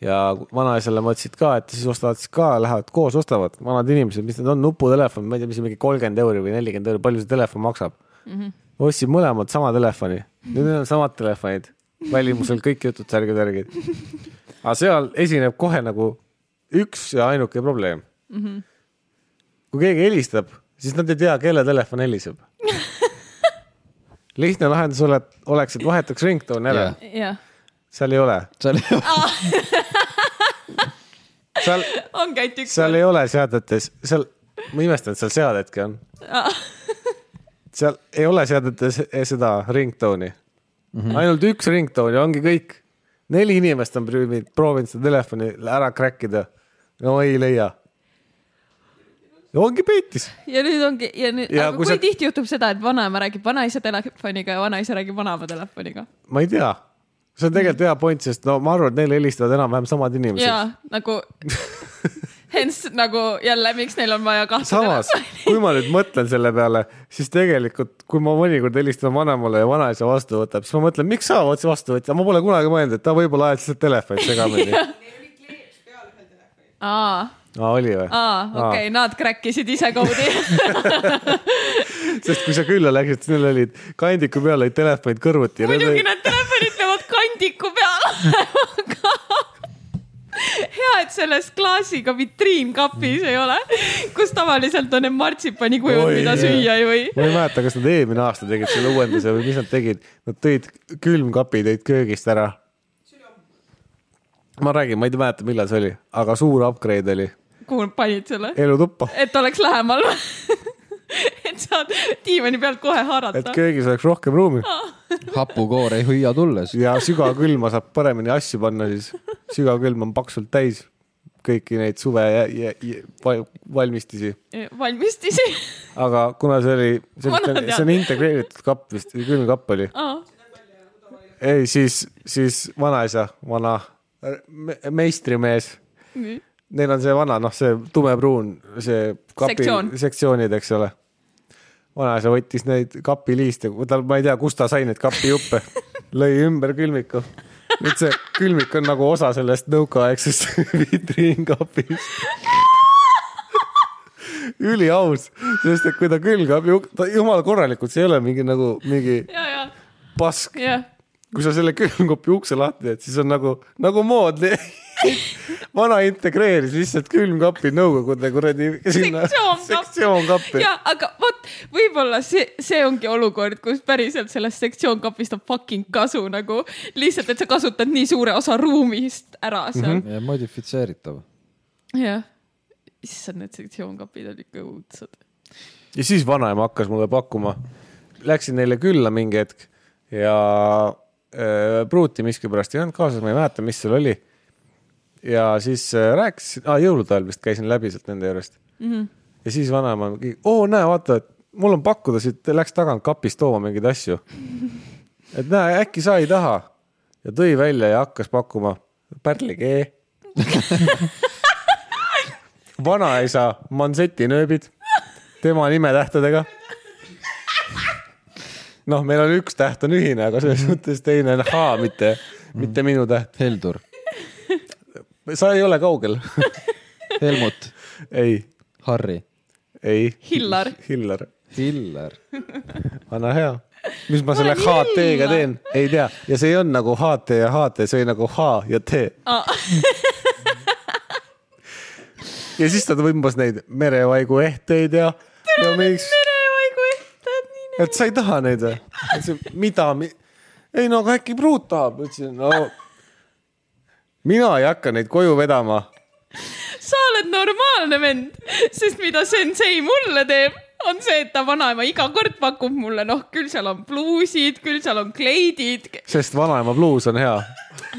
Speaker 2: ja vanaisale mõtlesid ka , et siis ostavad siis ka , lähevad koos ostavad , vanad inimesed , mis need on , nuputelefon , ma ei tea , mis see mingi kolmkümmend euri või nelikümmend euri , palju see telefon maksab mm -hmm. . ostsid mõlemad sama telefoni , nüüd neil on samad telefonid , välimusel kõik jutud särgid-värgid . aga seal esineb kohe nagu üks ja ainuke probleem mm . -hmm. kui keegi helistab , siis nad ei tea , kelle telefon heliseb lihtne lahendus ole, oleks , et vahetaks ringtooni ära yeah. ,
Speaker 3: jah ,
Speaker 2: seal ei ole ,
Speaker 1: seal
Speaker 2: seal ,
Speaker 3: ongi ainult üks .
Speaker 2: seal ei ole seadetes , seal , ma imestan , et seal seadetki on . seal ei ole seadetes e seda ringtooni mm , -hmm. ainult üks ringtoon ja ongi kõik . neli inimest on proovinud , proovinud seda telefoni ära crack ida . no ei leia . ongi peitis ,
Speaker 3: ja nüüd ongi ja nüüd ,
Speaker 2: Ja kui
Speaker 3: aga kui,
Speaker 2: sa-
Speaker 3: kui tihti juhtub seda , et vanaema räägib vanaisa telefoniga ja vanaisa räägib vanaema telefoniga ?
Speaker 2: ma ei tea , see on tegelikult hea point , sest no ma arvan , et neile helistavad enam-vähem samad inimesed
Speaker 3: ja nagu hence nagu jälle , miks neil on vaja kahte
Speaker 2: samas , kui ma nüüd mõtlen selle peale , siis tegelikult , kui ma mõnikord helistan vanemale ja vanaisa vastu võtab , siis ma mõtlen , miks sa otse vastu võtad , ma pole kunagi mõelnud , et ta võib-olla ajas lihtsalt telefoni segamini .
Speaker 4: Neil oli kleeps peal ühel telefonil .
Speaker 3: aa ,
Speaker 2: aa , oli või ?
Speaker 3: aa , okei , nad crack isid ise koodi .
Speaker 2: sest kui sa külla läksid , siis neil olid kandiku peal olid telefonid kõrvuti .
Speaker 3: muidugi nad telefonid peavad kandiku peal olema ka . hea , et selles klaasiga vitriinkapis ei ole , kus tavaliselt on need martsipanikujud ,
Speaker 2: Oi,
Speaker 3: mida
Speaker 2: jah.
Speaker 3: süüa ei või .
Speaker 2: ma ei mäleta , kas nad eelmine aasta tegid selle uuenduse või mis nad tegid , nad tõid külmkapi tõid köögist ära . ma räägin , ma ei mäleta , millal see oli , aga suur upgrade oli
Speaker 3: kuhu nad panid selle ?
Speaker 2: elutuppa ,
Speaker 3: et oleks lähemal . et saad diivani pealt kohe
Speaker 2: et
Speaker 3: haarata .
Speaker 2: köögis oleks rohkem ruumi
Speaker 1: hapukoor ei hüüa tulles .
Speaker 2: ja sügavkülma saab paremini asju panna , siis sügavkülm on paksult täis kõiki neid suve ja, ja, ja, val- valmistisi ,
Speaker 3: valmistisi .
Speaker 2: aga kuna see oli , see
Speaker 3: Vanad
Speaker 2: on,
Speaker 3: ja-
Speaker 2: see on integreeritud kapp vist , külmkapp oli , ei siis , siis vanaisa , vana me- meistrimees , neil on see vana , noh , see tumepruun , see kapi
Speaker 3: Sektsioon.
Speaker 2: sektsioonid , eks ole . vanaisa võttis neid kapiliiste , tal , ma ei tea , kust ta sai neid kapijuppe , lõi ümber külmiku . nüüd see külmik on nagu osa sellest nõukaaegsest vitriinkapist . üliaus , sest et kui ta külgab , ta jumala korralikult , see ei ole mingi nagu mingi
Speaker 3: ja , ja ,
Speaker 2: pask ,
Speaker 3: ja
Speaker 2: kui sa selle külmkapi ukse lahti teed , siis on nagu , nagu moodne . vana integreeris lihtsalt külmkapi nõukogude kuradi sinna
Speaker 3: Sektsioonkappi.
Speaker 2: sektsioonkappi .
Speaker 3: ja , aga vot võib-olla see , see ongi olukord , kus päriselt sellest sektsioonkapist on fucking kasu nagu lihtsalt , et sa kasutad nii suure osa ruumist ära seal mm .
Speaker 1: ja modifitseeritav .
Speaker 3: -hmm. jah , issand , need sektsioonkapid on ikka õudsad .
Speaker 2: ja siis vanaema hakkas mulle pakkuma , läksin neile külla mingi hetk ja äh, pruuti miskipärast ei olnud kaasas , ma ei mäleta , mis seal oli . ja siis äh, rääkisin ah, , jõulude ajal vist käisin läbi sealt nende juurest mm . -hmm. ja siis vanaema , oo näe , vaata , et mul on pakkuda siit , läks tagant kapist tooma mingeid asju . et näe , äkki sa ei taha ja tõi välja ja hakkas pakkuma pärlikee . vanaisa mansetinööbid tema nimetähtedega . noh , meil on üks täht on ühine , aga selles suhtes teine on H , mitte , mitte minu täht .
Speaker 1: Heldur ,
Speaker 2: sa ei ole kaugel .
Speaker 1: Helmut ,
Speaker 2: ei ,
Speaker 1: Harri ,
Speaker 2: ei .
Speaker 3: Hillar. .
Speaker 2: Hillar ,
Speaker 1: Hiller .
Speaker 2: anna hea . mis ma selle
Speaker 3: olen
Speaker 2: HT-ga
Speaker 3: Hillar.
Speaker 2: teen , ei tea ja see ei olnud nagu HT ja HT , see oli nagu H ja T . ja siis ta tõmbas neid merevaigu ehteid ja . no miks ,
Speaker 3: merevaigu ehted nii
Speaker 2: et sa ei taha neid või ? mida mi... ? ei no aga äkki pruut tahab , ütlesin no . mina ei hakka neid koju vedama
Speaker 3: sa oled normaalne vend , sest mida sensei mulle teeb , on see , et ta vanaema iga kord pakub mulle , noh , küll seal on pluusid , küll seal on kleidid
Speaker 2: sest vanaema bluus on hea .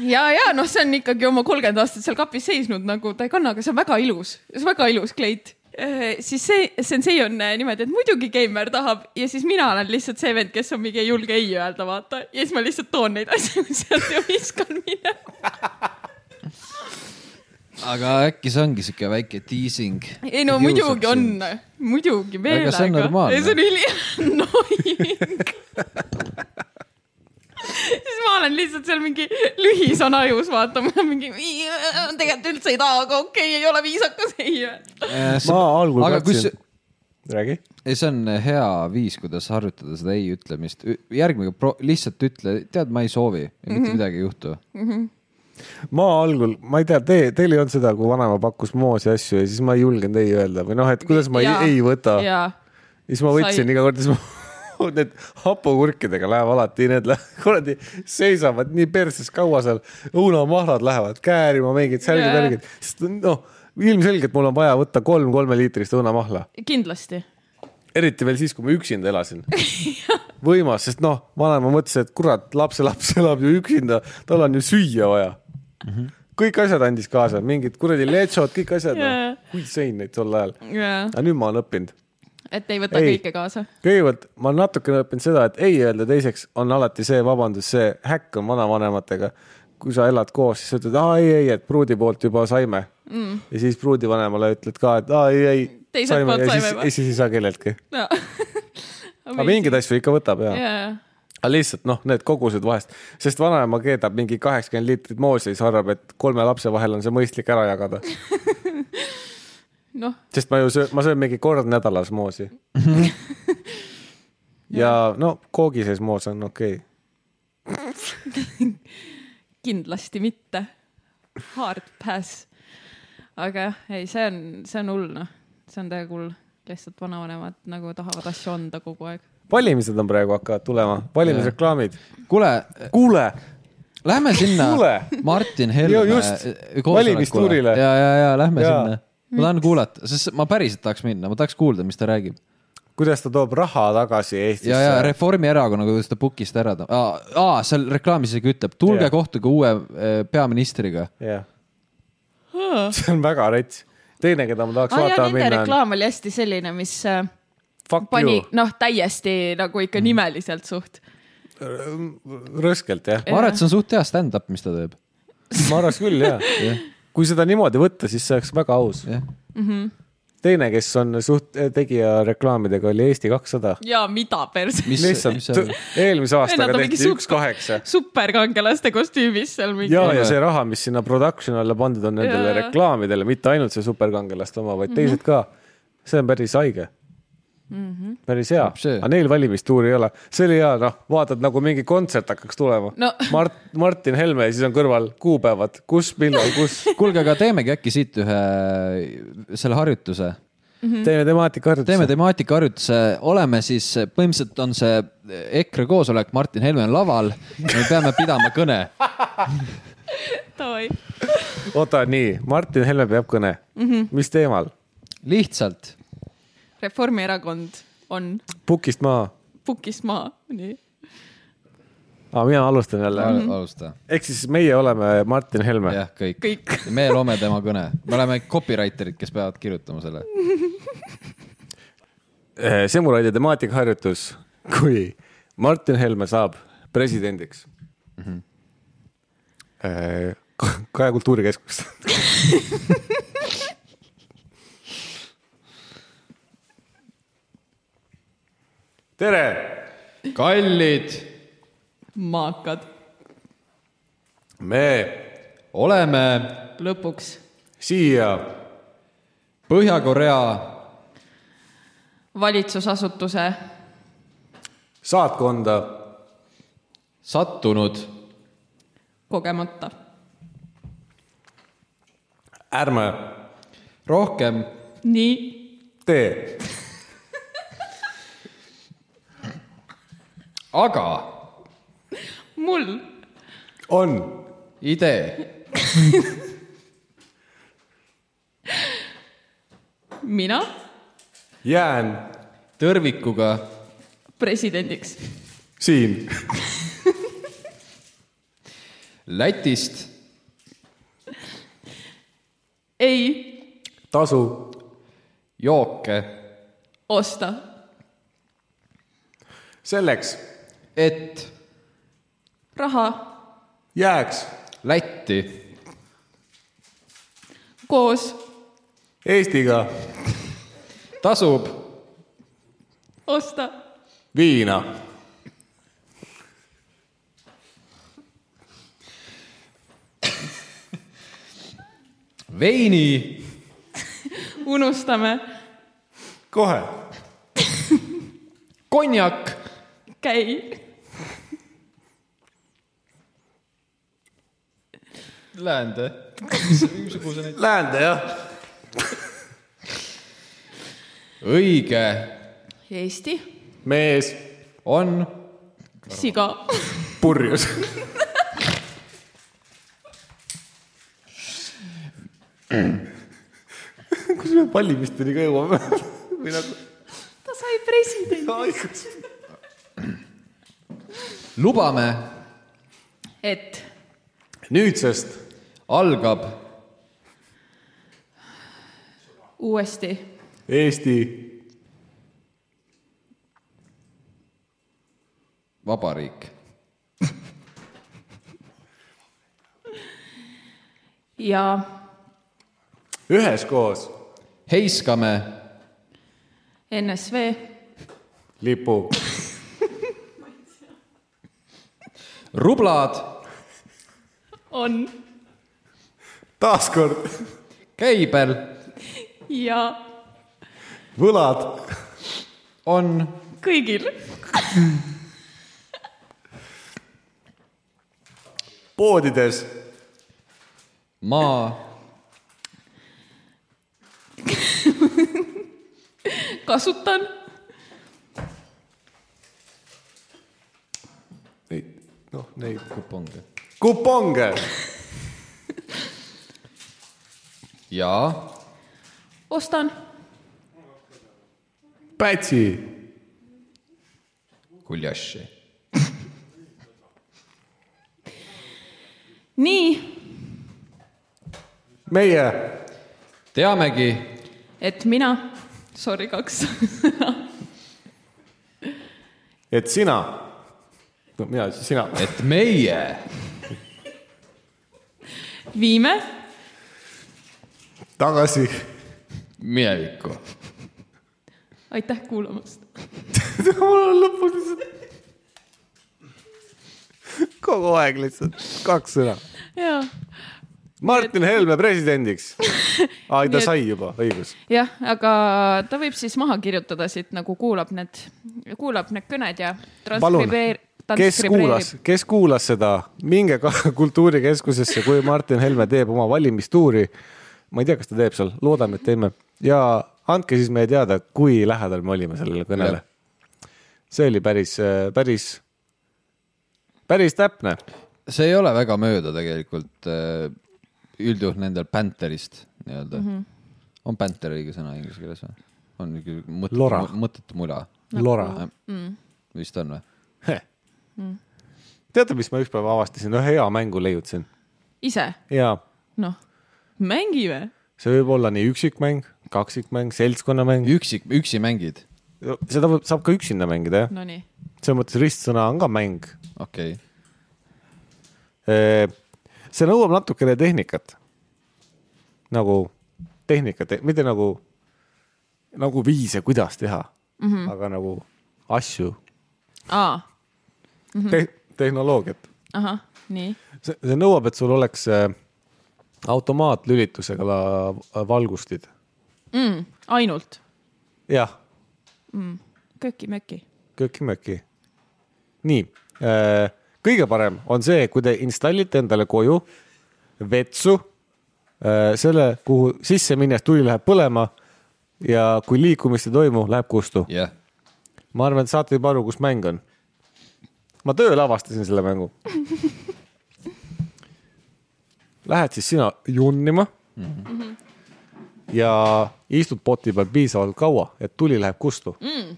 Speaker 3: ja , ja noh , see on ikkagi oma kolmkümmend aastat seal kapis seisnud nagu ta ei kanna , aga see on väga ilus , see on väga ilus kleit . Äh, siis see sensei on äh, niimoodi , et muidugi geimer tahab ja siis mina olen lihtsalt see vend , kes on mingi ei julge ei öelda , vaata , ja siis ma lihtsalt toon neid asju sealt ja viskan minema .
Speaker 1: aga äkki see ongi siuke väike teasing .
Speaker 3: ei no muidugi on , muidugi meelega .
Speaker 1: Aga see on normaalne.
Speaker 3: see on üliannoying siis ma olen lihtsalt seal mingi lühisõna ajus vaatama , mingi tegelikult üldse ei taha , aga okei okay, , ei ole viisakas , ei öelda .
Speaker 2: Äh, ma algul
Speaker 1: aga kui
Speaker 2: kartsin
Speaker 1: see- .
Speaker 2: räägi .
Speaker 1: ei , see on äh, hea viis , kuidas harjutada seda ei ütlemist . järgmine pro... , lihtsalt ütle , tead , ma ei soovi ja mitte mm
Speaker 3: Mhm.
Speaker 1: -hmm. midagi ei juhtu .
Speaker 2: ma algul , ma ei tea , te , teil ei olnud seda , kui vanaema pakkus moosi asju ja siis ma ei julgenud ei öelda või noh , et kuidas ma ei,
Speaker 3: Jaa.
Speaker 2: ei võta . ja
Speaker 3: ja ,
Speaker 2: siis ma võtsin
Speaker 3: Sai.
Speaker 2: iga kord , siis ma Need hapukurkidega läheb alati , need läheb, kuradi seisavad nii perses kaua seal , õunamahlad lähevad käärima , mingid särgid ,
Speaker 3: Jaa.
Speaker 2: värgid , sest noh , ilmselgelt mul on vaja võtta kolm kolmeliitrist õunamahla
Speaker 3: kindlasti .
Speaker 2: eriti veel siis , kui ma üksinda elasin . võimas , sest noh , vanaema mõtles , et kurat , lapselaps elab ju üksinda , tal on ju süüa vaja . kõik asjad andis kaasa , mingid kuradi letsod , kõik asjad
Speaker 3: Jaa.
Speaker 2: yeah. , kui sõin neid tol ajal .
Speaker 3: et
Speaker 2: aga nüüd ma olen õppinud .
Speaker 3: ei võta
Speaker 2: Ei.
Speaker 3: ei. kõike kaasa .
Speaker 2: kõigepealt ma olen natukene õppinud seda , et ei öelda , teiseks on alati see vabandus , see häkk on vanavanematega . kui sa elad koos , siis sa ütled , aa ei , ei , et pruudi poolt juba saime mm. . ja siis pruudivanemale ütled ka , et aa ei , ei .
Speaker 3: Teiselt poolt
Speaker 2: ja
Speaker 3: saime
Speaker 2: siis ,
Speaker 3: või?
Speaker 2: ja siis ei saa kelleltki .
Speaker 3: No.
Speaker 2: aga mingeid asju ikka võtab ja, ja.
Speaker 3: jaa ,
Speaker 2: aga lihtsalt noh , need kogused vahest , sest vanaema keedab mingi kaheksakümmend liitrit moosi , siis arvab , et kolme lapse vahel on see mõistlik ära jagada ,
Speaker 3: noh ,
Speaker 2: sest ma ju söön , ma söön mingi kord nädalas moosi . ja no koogi sees moos on okei okay. ,
Speaker 3: kindlasti mitte . Hard pass . aga jah , ei , see on , see on hull , noh . see on täiega hull . lihtsalt vanavanemad nagu tahavad asju anda kogu aeg .
Speaker 2: valimised on praegu hakkavad tulema , valimisreklaamid ,
Speaker 1: kuule ,
Speaker 2: kuule ,
Speaker 1: lähme sinna
Speaker 2: Kuule!
Speaker 1: Martin Helme äh,
Speaker 2: Ju- just, valimistuurile.
Speaker 1: ja , ja , ja lähme ja.
Speaker 2: Jaa.
Speaker 1: sinna . ma tahan kuulata , sest ma päriselt tahaks minna , ma tahaks kuulda , mis ta räägib .
Speaker 2: kuidas ta toob raha tagasi
Speaker 1: ja , ja
Speaker 2: Eestisse .
Speaker 1: Reformierakonnaga , kuidas ta book'ist ära ta- , aa , seal reklaamis isegi ütleb , tulge
Speaker 2: Jaa.
Speaker 1: kohtuge uue eh, peaministriga .
Speaker 2: jah , see on väga rets . teine , keda ma tahaks
Speaker 3: aa jaa ,
Speaker 2: vaatama
Speaker 3: nende
Speaker 2: minna on
Speaker 3: reklaam oli hästi selline , mis äh,
Speaker 2: Fuck
Speaker 3: pani
Speaker 2: you ,
Speaker 3: noh , täiesti nagu
Speaker 1: Mm.
Speaker 3: ikka nimeliselt suht .
Speaker 2: rõskelt jah .
Speaker 1: ma arvan , et see on suht hea stand-up , mis ta teeb .
Speaker 2: ma arvaks küll , jaa . kui seda niimoodi võtta , siis see oleks väga aus .
Speaker 1: jah ,
Speaker 2: teine , kes on suht eh, tegija reklaamidega , oli Eesti kakssada .
Speaker 3: ja mida perse .
Speaker 1: mis , mis
Speaker 2: lihtsalt
Speaker 1: seal ,
Speaker 2: eelmise aastaga
Speaker 3: Nad on mingi
Speaker 2: tehti
Speaker 3: super-
Speaker 2: üks kaheksa .
Speaker 3: superkangelaste kostüümis seal mingi .
Speaker 2: ja ,
Speaker 1: Jaa.
Speaker 2: ja see raha , mis sinna production alla pandud on nendele
Speaker 3: Jaa.
Speaker 2: reklaamidele , mitte ainult see superkangelaste oma , vaid teised ka . see on päris haige mm . -hmm. päris hea
Speaker 1: Saab see. ,
Speaker 2: aga neil valimistuuri ei ole , see oli hea , noh , vaatad nagu mingi kontsert hakkaks tulema
Speaker 3: No.
Speaker 2: Mart- , Martin Helme ja siis on kõrval kuupäevad , kus , millal , kus
Speaker 1: kuulge , aga teemegi äkki siit ühe , selle harjutuse
Speaker 2: teeme temaatika
Speaker 1: teeme
Speaker 2: harjutuse .
Speaker 1: temaatikaharjutuse , oleme siis , põhimõtteliselt on see EKRE koosolek , Martin Helme on laval , me peame pidama kõne .
Speaker 3: Davai.
Speaker 2: oota , nii , Martin Helme peab kõne mm . -hmm. mis teemal ?
Speaker 1: lihtsalt ,
Speaker 3: Reformierakond on
Speaker 2: pukist maha
Speaker 3: pukist maha , nii .
Speaker 2: ah, , mina alustan jälle mm -hmm.
Speaker 1: alusta ,
Speaker 2: ehk siis meie oleme Martin Helme .
Speaker 1: jah , kõik,
Speaker 3: Kõik. .
Speaker 1: me loome tema kõne , me oleme copywriter'id , kes peavad kirjutama selle .
Speaker 2: Äh, Semuraidi temaatikaharjutus , kui Martin Helme saab presidendiks mm . -hmm. Mhm. Kaja kultuurikeskus . tere ,
Speaker 1: kallid ,
Speaker 3: maakad ,
Speaker 2: me
Speaker 1: oleme
Speaker 3: lõpuks
Speaker 2: siia
Speaker 1: Põhja-Korea
Speaker 3: valitsusasutuse
Speaker 2: saatkonda
Speaker 1: sattunud
Speaker 3: kogemata
Speaker 2: ärme
Speaker 1: rohkem
Speaker 3: nii
Speaker 2: tee
Speaker 1: aga
Speaker 3: mul
Speaker 2: on
Speaker 1: idee ,
Speaker 3: mina
Speaker 2: jään
Speaker 1: tõrvikuga
Speaker 3: presidendiks
Speaker 2: siin
Speaker 1: Lätist
Speaker 3: ei
Speaker 2: tasu
Speaker 1: jooke ,
Speaker 3: osta
Speaker 2: selleks
Speaker 1: et
Speaker 3: raha
Speaker 2: jääks
Speaker 1: Lätti
Speaker 3: koos
Speaker 2: Eestiga
Speaker 1: tasub
Speaker 3: osta
Speaker 2: viina
Speaker 1: veini
Speaker 3: unustame
Speaker 2: kohe
Speaker 1: konjak ,
Speaker 3: käi
Speaker 1: läände ,
Speaker 2: läände jah .
Speaker 1: õige
Speaker 3: Eesti
Speaker 2: mees
Speaker 1: on
Speaker 3: siga
Speaker 2: purjus . kus me valimisteni ka jõuame ? või nagu ,
Speaker 3: ta sai presidendi
Speaker 1: lubame ,
Speaker 3: et
Speaker 2: nüüdsest
Speaker 1: algab
Speaker 3: uuesti
Speaker 2: Eesti
Speaker 1: vabariik ,
Speaker 3: ja
Speaker 2: üheskoos
Speaker 1: heiskame
Speaker 3: NSV
Speaker 2: lipu
Speaker 1: rublad ,
Speaker 3: on
Speaker 2: taaskord
Speaker 1: käibel
Speaker 3: ja
Speaker 2: võlad
Speaker 1: on
Speaker 3: kõigil
Speaker 2: poodides
Speaker 1: maa
Speaker 3: kasutan
Speaker 2: neid , noh neid
Speaker 1: kuponge
Speaker 2: kuponge
Speaker 1: ja
Speaker 3: ostan
Speaker 2: Pätsi
Speaker 1: guljaši ,
Speaker 3: nii ,
Speaker 2: meie
Speaker 1: teamegi
Speaker 3: et mina , sorry , kaks
Speaker 2: et sina no mina ütlesin sina
Speaker 1: et meie
Speaker 3: viime
Speaker 2: tagasi
Speaker 1: minevikku .
Speaker 3: aitäh kuulamast .
Speaker 2: mul on lõpus lihtsalt . kogu aeg lihtsalt kaks sõna .
Speaker 3: jaa
Speaker 2: Martin Helme presidendiks . ai ,
Speaker 3: Nii
Speaker 2: ta
Speaker 3: et-
Speaker 2: sai juba , õigus .
Speaker 3: jah , aga ta võib siis maha kirjutada siit nagu kuulab need , kuulab need kõned ja
Speaker 2: palun
Speaker 3: transkribeer- ,
Speaker 2: kes kuulas
Speaker 3: transkribeerib .,
Speaker 2: kes kuulas seda , minge ka kultuurikeskusesse , kui Martin Helme teeb oma valimistuuri . ma ei tea , kas ta teeb seal , loodame , et teeme ja andke siis meie teada , kui lähedal me olime sellele kõnele . see oli päris , päris , päris täpne .
Speaker 1: see ei ole väga mööda tegelikult äh, üldjuhul nendel Pantherist nii-öelda mm . -hmm. on Panther õige sõna inglise keeles või ? on niisugune
Speaker 2: Lora.
Speaker 1: mõttetu , mõttetu mula .
Speaker 3: Nagu-
Speaker 2: Lora ,
Speaker 1: vist on või ?
Speaker 2: teate , mis ma ükspäev avastasin , ühe hea mängu leiutasin
Speaker 3: ise ,
Speaker 2: ja
Speaker 3: noh , mängime .
Speaker 2: see võib olla nii üksikmäng , kaksikmäng , seltskonnamäng ,
Speaker 1: üksik , üksi mängid ,
Speaker 2: seda võib, saab ka üksinda mängida jah ,
Speaker 3: Nonii ,
Speaker 2: selles mõttes ristsõna on ka mäng
Speaker 1: okei okay. .
Speaker 2: see nõuab natukene tehnikat . nagu tehnikat , mitte nagu , nagu viise , kuidas teha mm , -hmm. aga nagu asju
Speaker 3: aa ,
Speaker 2: Te , tehnoloogiat .
Speaker 3: ahah , nii ,
Speaker 2: see , see nõuab , et sul oleks äh, automaatlülitusega la- valgustid .
Speaker 3: Mm, ainult
Speaker 2: jah ,
Speaker 3: köki-möki .
Speaker 2: köki-möki . nii , kõige parem on see , kui te installite endale koju vetsu , selle , kuhu sisse minnes tuli läheb põlema ja kui liikumist ei toimu , läheb kustu .
Speaker 1: jah ,
Speaker 2: ma arvan , et saate juba aru , kus mäng on . ma tööl avastasin selle mängu . Lähed siis sina junnima mm -hmm. ja istud poti peal piisavalt kaua , et tuli läheb kustu mm. .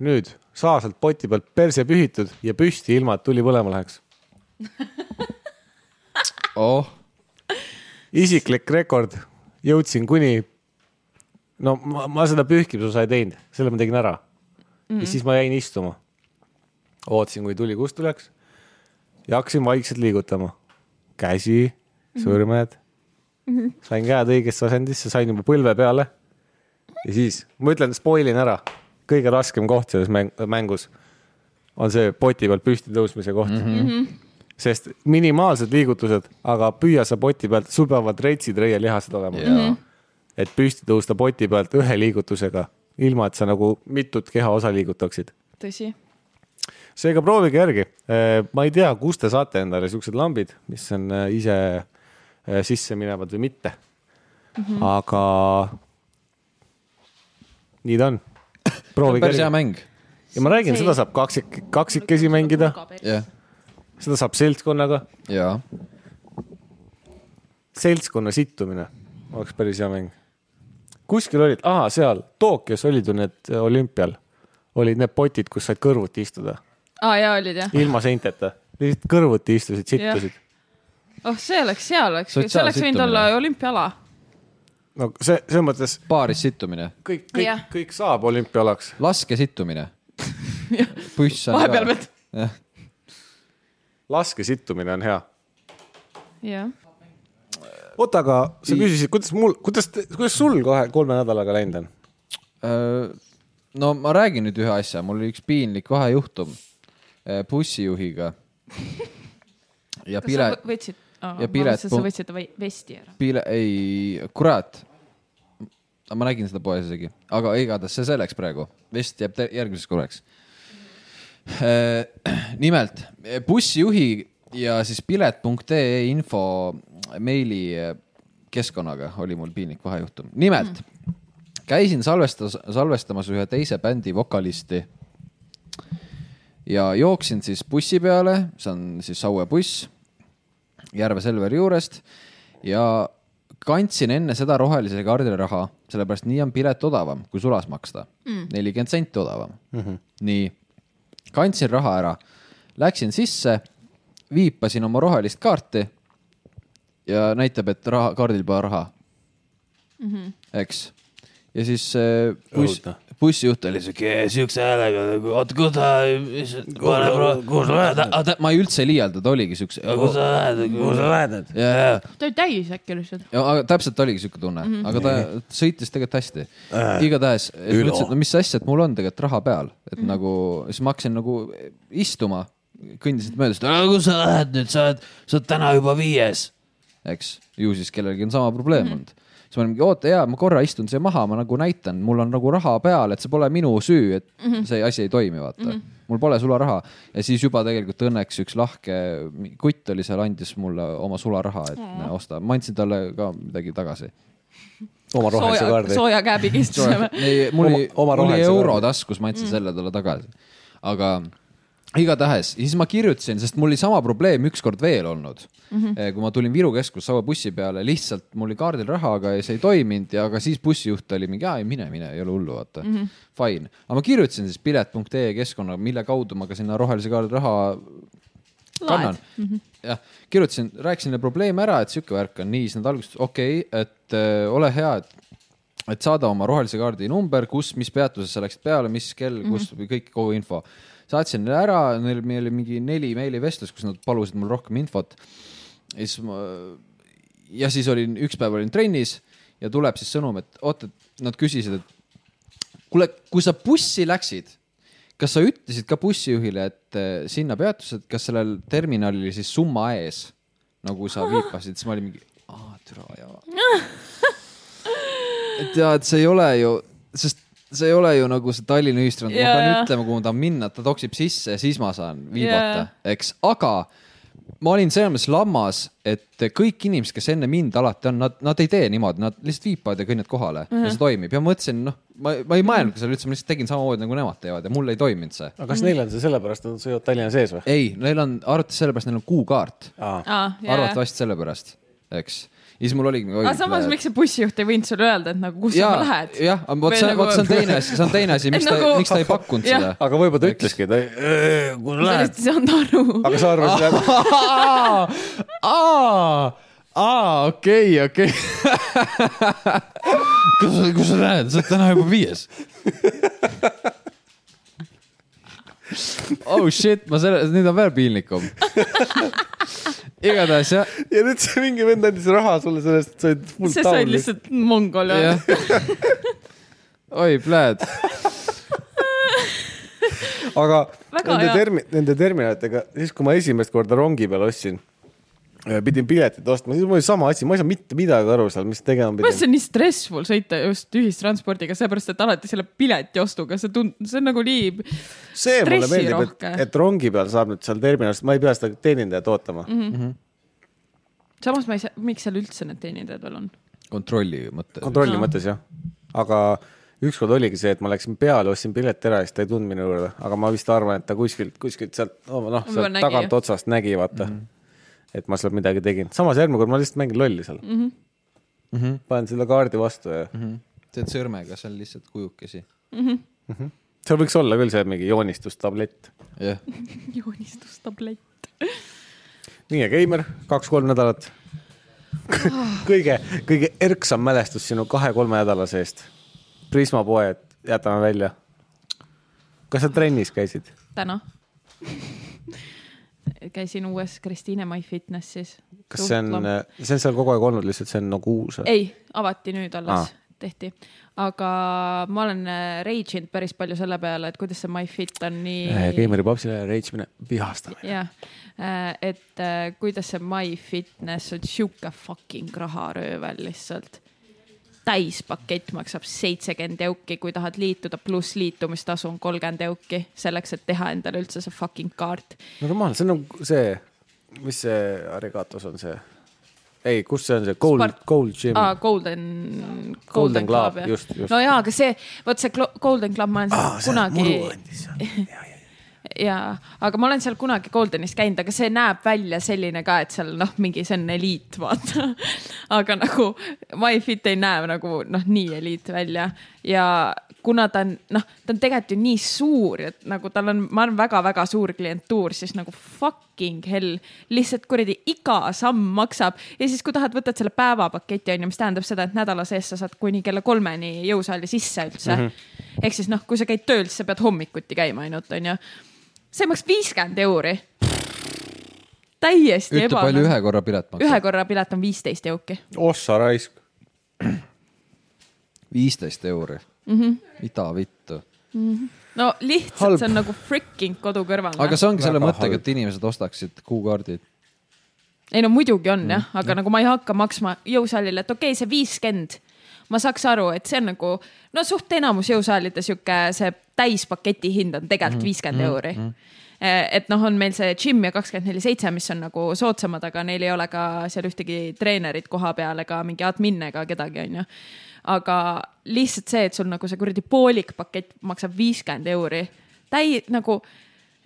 Speaker 2: nüüd saa sealt poti pealt perse pühitud ja püsti , ilma et tuli põlema läheks .
Speaker 1: oh ,
Speaker 2: isiklik rekord , jõudsin kuni . no ma, ma seda pühkimisosa ei teinud , selle ma tegin ära mm . -hmm. ja siis ma jäin istuma . ootasin , kui tuli kustu läks ja hakkasin vaikselt liigutama . käsi , sõrmed mm . -hmm. sain käed õigesse asendisse , sain juba põlve peale . ja siis ma ütlen , spoil in ära , kõige raskem koht selles mäng mängus on see poti pealt püsti tõusmise koht mm . -hmm sest minimaalsed liigutused , aga püüa sa poti pealt , sul peavad retsid reielihased olema
Speaker 1: Jaa. Mhm.
Speaker 2: et püsti tõusta poti pealt ühe liigutusega , ilma et sa nagu mitut kehaosa liigutaksid .
Speaker 3: tõsi ,
Speaker 2: seega proovige järgi . ma ei tea , kust te saate endale siuksed lambid , mis on eh, ise eh, sisse minevad või mitte mm .
Speaker 1: Mhm.
Speaker 2: -hmm. aga nii ta on . proovige
Speaker 1: päris hea
Speaker 2: järgi .
Speaker 1: mäng ,
Speaker 2: ja ma räägin ,
Speaker 3: See-
Speaker 2: seda saab kaksik , kaksikesi mängida ,
Speaker 1: jah ,
Speaker 2: seda saab seltskonnaga
Speaker 1: ja
Speaker 2: seltskonna sittumine oleks päris hea mäng . kuskil olid , aa , seal Tokyos olid ju need eh, olümpial , olid need potid , kus said kõrvuti istuda ,
Speaker 3: aa jaa , olid jah ?
Speaker 2: ilma seinteta , lihtsalt kõrvuti istusid , sittusid .
Speaker 3: oh , see oleks , see oleks , see
Speaker 1: Sotsiaalsüttumine.
Speaker 3: oleks võinud olla olümpiaala .
Speaker 2: no see , selles mõttes
Speaker 1: paaris sittumine ,
Speaker 2: kõik ,
Speaker 3: Jah.
Speaker 2: kõik , kõik saab olümpialaks .
Speaker 1: laske sittumine . püss on
Speaker 3: vahepeal veel .
Speaker 1: jah ,
Speaker 2: laske sittumine on hea .
Speaker 3: jah ,
Speaker 2: oota , aga sa küsisid , kuidas mul , kuidas , kuidas sul kahe , kolme nädalaga läinud on ?
Speaker 1: Äh, no ma räägin nüüd ühe asja , mul oli üks piinlik vahejuhtum eh, bussijuhiga .
Speaker 3: kas sa
Speaker 1: ja Piret ,
Speaker 3: võtsid ,
Speaker 1: ja
Speaker 3: ma
Speaker 1: Piret
Speaker 3: mõtlesin , et sa
Speaker 1: pu-
Speaker 3: võtsid vai- vesti ära .
Speaker 1: Piret , ei , kurat . ma nägin seda poes isegi , aga igatahes see selleks praegu , vist jääb te- järgmiseks korraks . nimelt bussijuhi ja siis pilet.ee info meili keskkonnaga oli mul piinlik vahejuhtum , nimelt käisin salvestas , salvestamas ühe teise bändi vokalisti ja jooksin siis bussi peale , see on siis Saue buss Järve Selveri juurest ja kandsin enne seda rohelisele kaardile raha , sellepärast nii on pilet odavam , kui sulas maksta . nelikümmend senti odavam mm . -hmm. nii , kandsin raha ära , läksin sisse , viipasin oma rohelist kaarti ja näitab , et raha , kaardil pole raha mm . -hmm. eks , ja siis äh, buss
Speaker 2: Õudne. ,
Speaker 1: bussijuht oli siuke , siukse häälega nagu , oot kus sa , kus sa lähed , ma ei üldse ei liialda , ta oligi siukse , kus sa lähed , kus sa lähed , ja , ja ,
Speaker 3: ta oli täis äkki lihtsalt .
Speaker 1: ja aga täpselt oligi siuke tunne mm , -hmm. aga ta sõitis tegelikult hästi . igatahes siis mõtlesin , et no mis asja , et mul on tegelikult raha peal , et mm -hmm. nagu siis ma hakkasin nagu istuma , kõndisid mööda , siis ta , kus sa lähed nüüd , sa oled , sa oled täna juba viies . eks ju siis kellelgi on sama probleem mm -hmm. olnud siis ma olin mingi , oota jaa , ma korra istun siia maha , ma nagu näitan , mul on nagu raha peal , et see pole minu süü , et mm -hmm. see asi ei toimi , vaata mm . -hmm. mul pole sularaha ja siis juba tegelikult õnneks üks lahke kutt oli seal , andis mulle oma sularaha , et mm -hmm. osta , ma andsin talle ka midagi tagasi .
Speaker 2: oma rohelise
Speaker 3: sooja ,
Speaker 2: kaardi .
Speaker 3: sooja käe pigistasime .
Speaker 1: ei , mul oli ,
Speaker 2: Oma- oma
Speaker 1: mul oli
Speaker 2: rohelise
Speaker 1: euro
Speaker 2: kaardi.
Speaker 1: taskus , ma andsin mm. selle talle tagasi . aga igatahes , siis ma kirjutasin , sest mul oli sama probleem ükskord veel olnud mm . -hmm. kui ma tulin Viru keskus Saue bussi peale , lihtsalt mul oli kaardil raha , aga see ei toiminud ja , aga siis bussijuht oli mingi , aa ei mine , mine , ei ole hullu , vaata mm . -hmm. Fine , aga ma kirjutasin siis pilet.ee keskkonna , mille kaudu ma ka sinna rohelise kaardi raha kannan . jah , kirjutasin , rääkisin neile probleemi ära , et sihuke värk on nii , siis nad alguses , okei okay, , et öö, ole hea , et , et saada oma rohelise kaardi number , kus , mis peatuses sa läksid peale , mis kell , kus mm , -hmm. kõik , kogu info . saatsin neile ära , neil , meil oli mingi neli meilivestlust , kus nad palusid mul rohkem infot . ja siis ma , ja siis olin , üks päev olin trennis ja tuleb siis sõnum , et oota , et nad küsisid , et kuule , kui sa bussi läksid kas sa ütlesid ka bussijuhile , et eh, sinna peatus , et kas sellel terminalil siis summa ees , nagu sa viipasid , siis ma olin mingi , aa türa ja . et ja , et see ei ole ju , sest see ei ole ju nagu see Tallinna ühistrand , ma
Speaker 3: Jaa,
Speaker 1: pean
Speaker 3: jaa.
Speaker 1: ütlema , kuhu ma tahan minna , ta toksib sisse ja siis ma saan viibata
Speaker 3: Jaa. ,
Speaker 1: eks , aga ma olin selles mõttes lammas , et kõik inimesed , kes enne mind alati on , nad , nad ei tee niimoodi , nad lihtsalt viipavad ja kõnnivad kohale mm -hmm.
Speaker 3: Mhm.
Speaker 1: ja see toimib ja ma mõtlesin , noh , ma , ma ei mõelnudki selle üldse , ma lihtsalt tegin samamoodi nagu nemad teevad ja mul ei toiminud see .
Speaker 2: aga kas neil on see sellepärast , et nad sõidavad Tallinna sees või ?
Speaker 1: ei , neil on , arvati sellepärast , neil on kuukaart ,
Speaker 2: aa ,
Speaker 3: aa , jaa .
Speaker 1: arvatavasti sellepärast , eks . ja siis mul oligi .
Speaker 3: aga samas , miks see bussijuht ei võinud sulle öelda , et nagu kus sa lähed ?
Speaker 1: jah , vot see , vot see on teine asi , see on teine asi , miks
Speaker 3: Et
Speaker 1: ta
Speaker 3: nagu- ,
Speaker 1: miks ta ei pakkunud
Speaker 3: Jah.
Speaker 1: seda .
Speaker 2: aga võib-olla ta ütleski , et "Öö, kus
Speaker 3: sa
Speaker 2: lähed
Speaker 3: lihtsalt ei saanud aru .
Speaker 2: aga sa arvasid jah ,
Speaker 1: aa , aa , okei , okei . kus , kus sa lähed , sa oled täna juba viies . oh shit , ma selle , nüüd on veel piinlikum . igatahes jah ,
Speaker 2: ja nüüd see mingi vend andis raha sulle sellest , et sa olid full
Speaker 3: sa said
Speaker 2: down'is .
Speaker 3: lihtsalt mongol ja
Speaker 1: jah . oi , pläät
Speaker 2: aga
Speaker 3: Väga
Speaker 2: nende
Speaker 3: hea.
Speaker 2: termi- , nende terminalitega , siis kui ma esimest korda rongi peal ostsin , pidin piletid ostma , siis mul oli sama asi , ma ei saa mitte midagi aru seal , mis tegema
Speaker 3: minu
Speaker 2: pidin .
Speaker 3: arust see on nii stressful sõita just ühistranspordiga , sellepärast et alati selle piletiostuga see tund- , see on nagu nii .
Speaker 2: see mulle
Speaker 3: stressi
Speaker 2: meeldib , et
Speaker 3: rohke. ,
Speaker 2: et rongi peal saab nüüd seal terminalis , ma ei pea seda teenindajat ootama
Speaker 3: Mhm.
Speaker 2: mm . -hmm.
Speaker 3: samas ma ei saa , miks seal üldse need teenindajad veel on ?
Speaker 1: kontrolli mõttes .
Speaker 2: kontrolli
Speaker 3: Aa.
Speaker 2: no. mõttes jah , aga ükskord oligi see , et ma läksin peale , ostsin pileti ära ja siis ta ei tundnud minu juurde , aga ma vist arvan , et ta kuskilt , kuskilt sealt , noh ,
Speaker 3: Võib-olla
Speaker 2: sealt
Speaker 3: nägi.
Speaker 2: tagantotsast nägi , vaata mm . -hmm. et ma seal midagi tegin , samas järgmine kord ma lihtsalt mängin lolli seal mm .
Speaker 3: Mhm.
Speaker 2: -hmm. panen selle kaardi vastu ja
Speaker 1: Mhm.
Speaker 2: mm -hmm.
Speaker 1: teed sõrmega , see on lihtsalt kujukesi .
Speaker 2: seal võiks olla küll see mingi joonistustablett .
Speaker 1: jah ,
Speaker 3: joonistustablett .
Speaker 2: nii , Keimer , kaks-kolm nädalat .
Speaker 3: Ah.
Speaker 2: kõige , kõige erksam mälestus sinu kahe-kolme nädala seest . Prisma poed jätame välja . kas sa trennis käisid ?
Speaker 3: täna käisin uues Kristiine My Fitnessis .
Speaker 2: kas see on , see on seal kogu aeg olnud lihtsalt , see on nagu uus või ?
Speaker 3: ei , avati nüüd alles
Speaker 2: Aa.
Speaker 3: ah. tehti , aga ma olen äh, rage inud päris palju selle peale , et kuidas see MyFit on
Speaker 2: Äh,
Speaker 3: nii .
Speaker 2: Keimeri papsile reitsimine , vihastamine .
Speaker 3: jah , et äh, kuidas see MyFitness on sihuke fucking raharöövel lihtsalt . täispakett maksab seitsekümmend euki , kui tahad liituda , pluss liitumistasu on kolmkümmend euki selleks , et teha endale üldse see fucking kaart .
Speaker 2: normaalne , see on nagu see , mis see Arigatos on see ? ei , kus see on see Gold
Speaker 3: Sport- ,
Speaker 2: Gold Gym
Speaker 3: aa , Golden ,
Speaker 2: Golden
Speaker 3: Golden
Speaker 2: Club,
Speaker 3: Club jah
Speaker 2: just, just.
Speaker 3: no jaa , aga see , vot see Glo- Golden Club , ma olen seal ah, kunagi
Speaker 2: andis .
Speaker 3: jaa , aga ma olen seal kunagi Goldenis käinud , aga see näeb välja selline ka , et seal noh , mingi see on eliit , vaata . aga nagu MyFit ei näe nagu noh , nii eliit välja ja kuna ta on noh , ta on tegelikult ju nii suur , et nagu tal on , ma arvan , väga-väga suur klientuur , siis nagu fucking hell , lihtsalt kuradi iga samm maksab ja siis , kui tahad , võtad selle
Speaker 1: Mhm.
Speaker 3: päevapaketi onju , mis tähendab seda , et nädala sees sa saad kuni kella kolmeni jõusaali sisse üldse mm . -hmm. ehk siis noh , kui sa käid tööl , siis sa pead hommikuti käima ainult , onju . see maksab viiskümmend euri . täiesti
Speaker 1: ütle palju
Speaker 3: ebamäärane .
Speaker 1: ühe korra pilet maksab
Speaker 3: ühe . korra pilet on viisteist euki .
Speaker 2: ossa raisk .
Speaker 1: viisteist euri . mida vittu .
Speaker 3: no lihtsalt
Speaker 2: Halb.
Speaker 3: Halb. see on nagu freaking kodu kõrval . noh.
Speaker 1: aga see ongi selle
Speaker 2: Väga
Speaker 1: mõttega ,
Speaker 2: halb.
Speaker 1: et inimesed ostaksid kuukaardid .
Speaker 3: ei no muidugi on jah , aga nagu ma ei hakka maksma jõusaalile , et okei okay, , see viiskümmend , ma saaks aru , et see on nagu no suht enamus jõusaalide sihuke see täispaketi hind on tegelikult viiskümmend euri . et noh , on meil see Gym ja kakskümmend neli seitse , mis on nagu soodsamad , aga neil ei ole ka seal ühtegi treenerit koha peal ega mingi admin ega kedagi , onju . aga lihtsalt see , et sul nagu see kuradi poolik pakett maksab viiskümmend euri , täi- nagu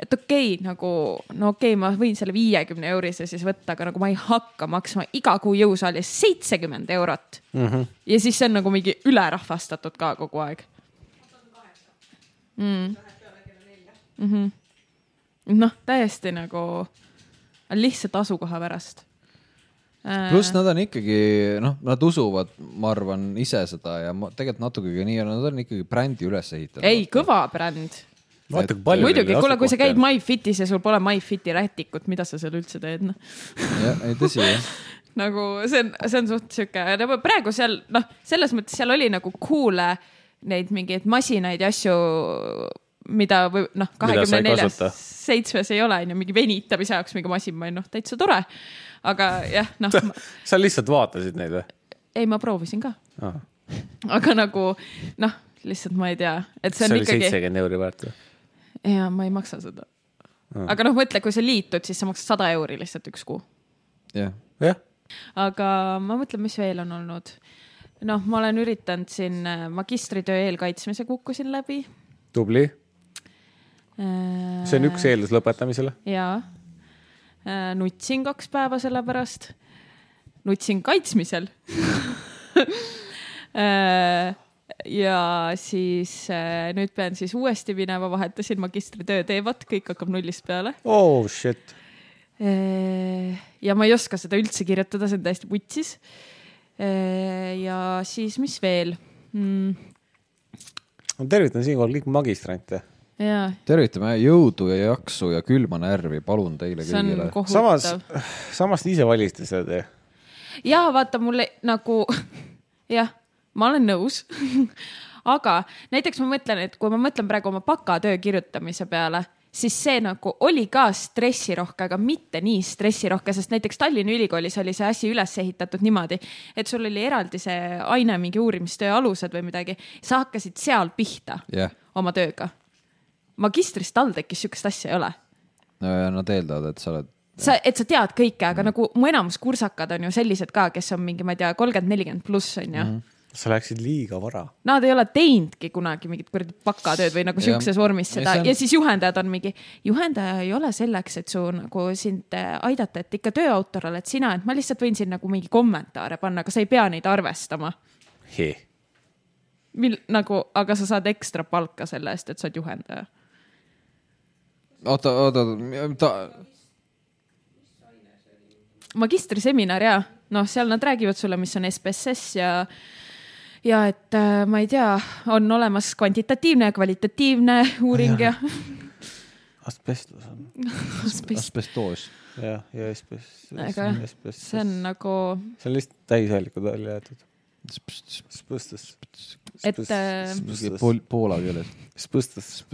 Speaker 3: et okei okay, , nagu no okei okay, , ma võin selle viiekümne eurise siis võtta , aga nagu ma ei hakka maksma iga kuu jõusaalis seitsekümmend eurot mm . -hmm. ja siis see on nagu mingi ülerahvastatud ka kogu aeg mm. . Mm -hmm. Mhm. noh , täiesti nagu lihtsalt asukoha pärast . Äh,
Speaker 1: pluss nad on ikkagi , noh , nad usuvad , ma arvan , ise seda ja ma tegelikult natuke ka nii on , nad on ikkagi brändi üles ehitanud .
Speaker 3: ei , kõva bränd .
Speaker 2: vaata kui palju .
Speaker 3: muidugi , kuule , kui sa käid . MyFitis ja sul pole MyFiti rätikut , mida sa seal üldse teed , noh
Speaker 1: ei tõsi jah .
Speaker 3: nagu see on , see on suht sihuke , nagu praegu seal noh , selles mõttes seal oli nagu cool'e neid mingeid masinaid ja asju , mida või
Speaker 2: Mida
Speaker 3: noh ,
Speaker 2: sa
Speaker 3: kahekümne
Speaker 2: ei
Speaker 3: neljas
Speaker 2: kasuta. ,
Speaker 3: seitsmes ei ole onju , mingi venitamise jaoks mingi masin , ma olin noh , täitsa tore . aga jah , noh ,
Speaker 2: sa lihtsalt vaatasid neid või ? Ah.
Speaker 3: ei ma proovisin ka ,
Speaker 2: see,
Speaker 3: aga nagu noh , lihtsalt ma ei tea , et see
Speaker 2: see
Speaker 3: on
Speaker 2: oli
Speaker 3: ikkagi ,
Speaker 2: seitsekümmend euri väärt või ?
Speaker 3: ja ma ei maksa seda . aga noh , mõtle , kui sa liitud , siis sa maksad sada euri lihtsalt üks kuu
Speaker 1: jah ,
Speaker 2: jah ,
Speaker 3: aga ma mõtlen , mis veel on olnud . noh , ma olen üritanud siin äh, magistritöö eelkaitsmise kukkusin läbi .
Speaker 2: tubli , see
Speaker 3: see
Speaker 2: on üks . eeldus lõpetamisele .
Speaker 3: Äh, jaa . nutsin kaks päeva selle pärast . nutsin kaitsmisel Äh, ja siis äh, nüüd pean siis uuesti minema , vahetasin magistritöö teemat , kõik hakkab nullist peale .
Speaker 2: oh shit ,
Speaker 3: ja ma ei oska seda üldse kirjutada , see on täiesti putsis . ja siis , mis veel mm, ?
Speaker 2: ma tervitan siinkohal kõik magistrante .
Speaker 3: ja
Speaker 1: tervitame jõudu ja jaksu ja külma närvi , palun teile
Speaker 3: see on
Speaker 1: kõigile .
Speaker 2: samas
Speaker 3: kohutav .,
Speaker 2: samas te ise valisite seda tee .
Speaker 3: ja vaata mulle nagu jah , ma olen nõus . aga näiteks ma mõtlen , et kui ma mõtlen praegu oma bakatöö kirjutamise peale , siis see nagu oli ka stressirohke , aga mitte nii stressirohke , sest näiteks Tallinna Ülikoolis oli see asi üles ehitatud niimoodi , et sul oli eraldi see aine mingi uurimistöö alused või midagi , sa hakkasid seal pihta
Speaker 1: jah ,
Speaker 3: oma tööga . magistris TalTechis sihukest asja ei ole
Speaker 1: nad eeldavad , et sa oled ,
Speaker 3: sa , et sa tead kõike , aga nagu mu enamus kursakad on ju sellised ka , kes on mingi , ma ei tea , kolmkümmend , nelikümmend pluss on ju
Speaker 1: Mhm.
Speaker 3: mm . -hmm.
Speaker 2: sa läksid liiga vara .
Speaker 3: Nad ei ole teinudki kunagi mingit kuradi bakatööd või nagu
Speaker 1: Jah.
Speaker 3: sihukeses vormis
Speaker 1: Ei,
Speaker 3: seda
Speaker 1: see on-
Speaker 3: ja siis juhendajad on mingi , juhendaja ei ole selleks , et su nagu sind äh, aidata , et ikka töö autor oled sina , et ma lihtsalt võin siin nagu mingi kommentaare panna , aga sa ei pea neid arvestama . mil- , nagu , aga sa saad ekstra palka selle eest , et sa oled juhendaja .
Speaker 1: oota , oota , ta ,
Speaker 3: magistriseminar ja noh , seal nad räägivad sulle , mis on SPSS ja ja et äh, ma ei tea , on olemas kvantitatiivne ja kvalitatiivne uuring ja
Speaker 2: asbestos on .
Speaker 1: asbestoos .
Speaker 2: jah , ja asbestos .
Speaker 3: aga jah , see on nagu ,
Speaker 2: see on lihtsalt täishäälikud välja jäetud . asbestos .
Speaker 3: Et, äh,
Speaker 1: Poola keeles ,
Speaker 2: asbestos .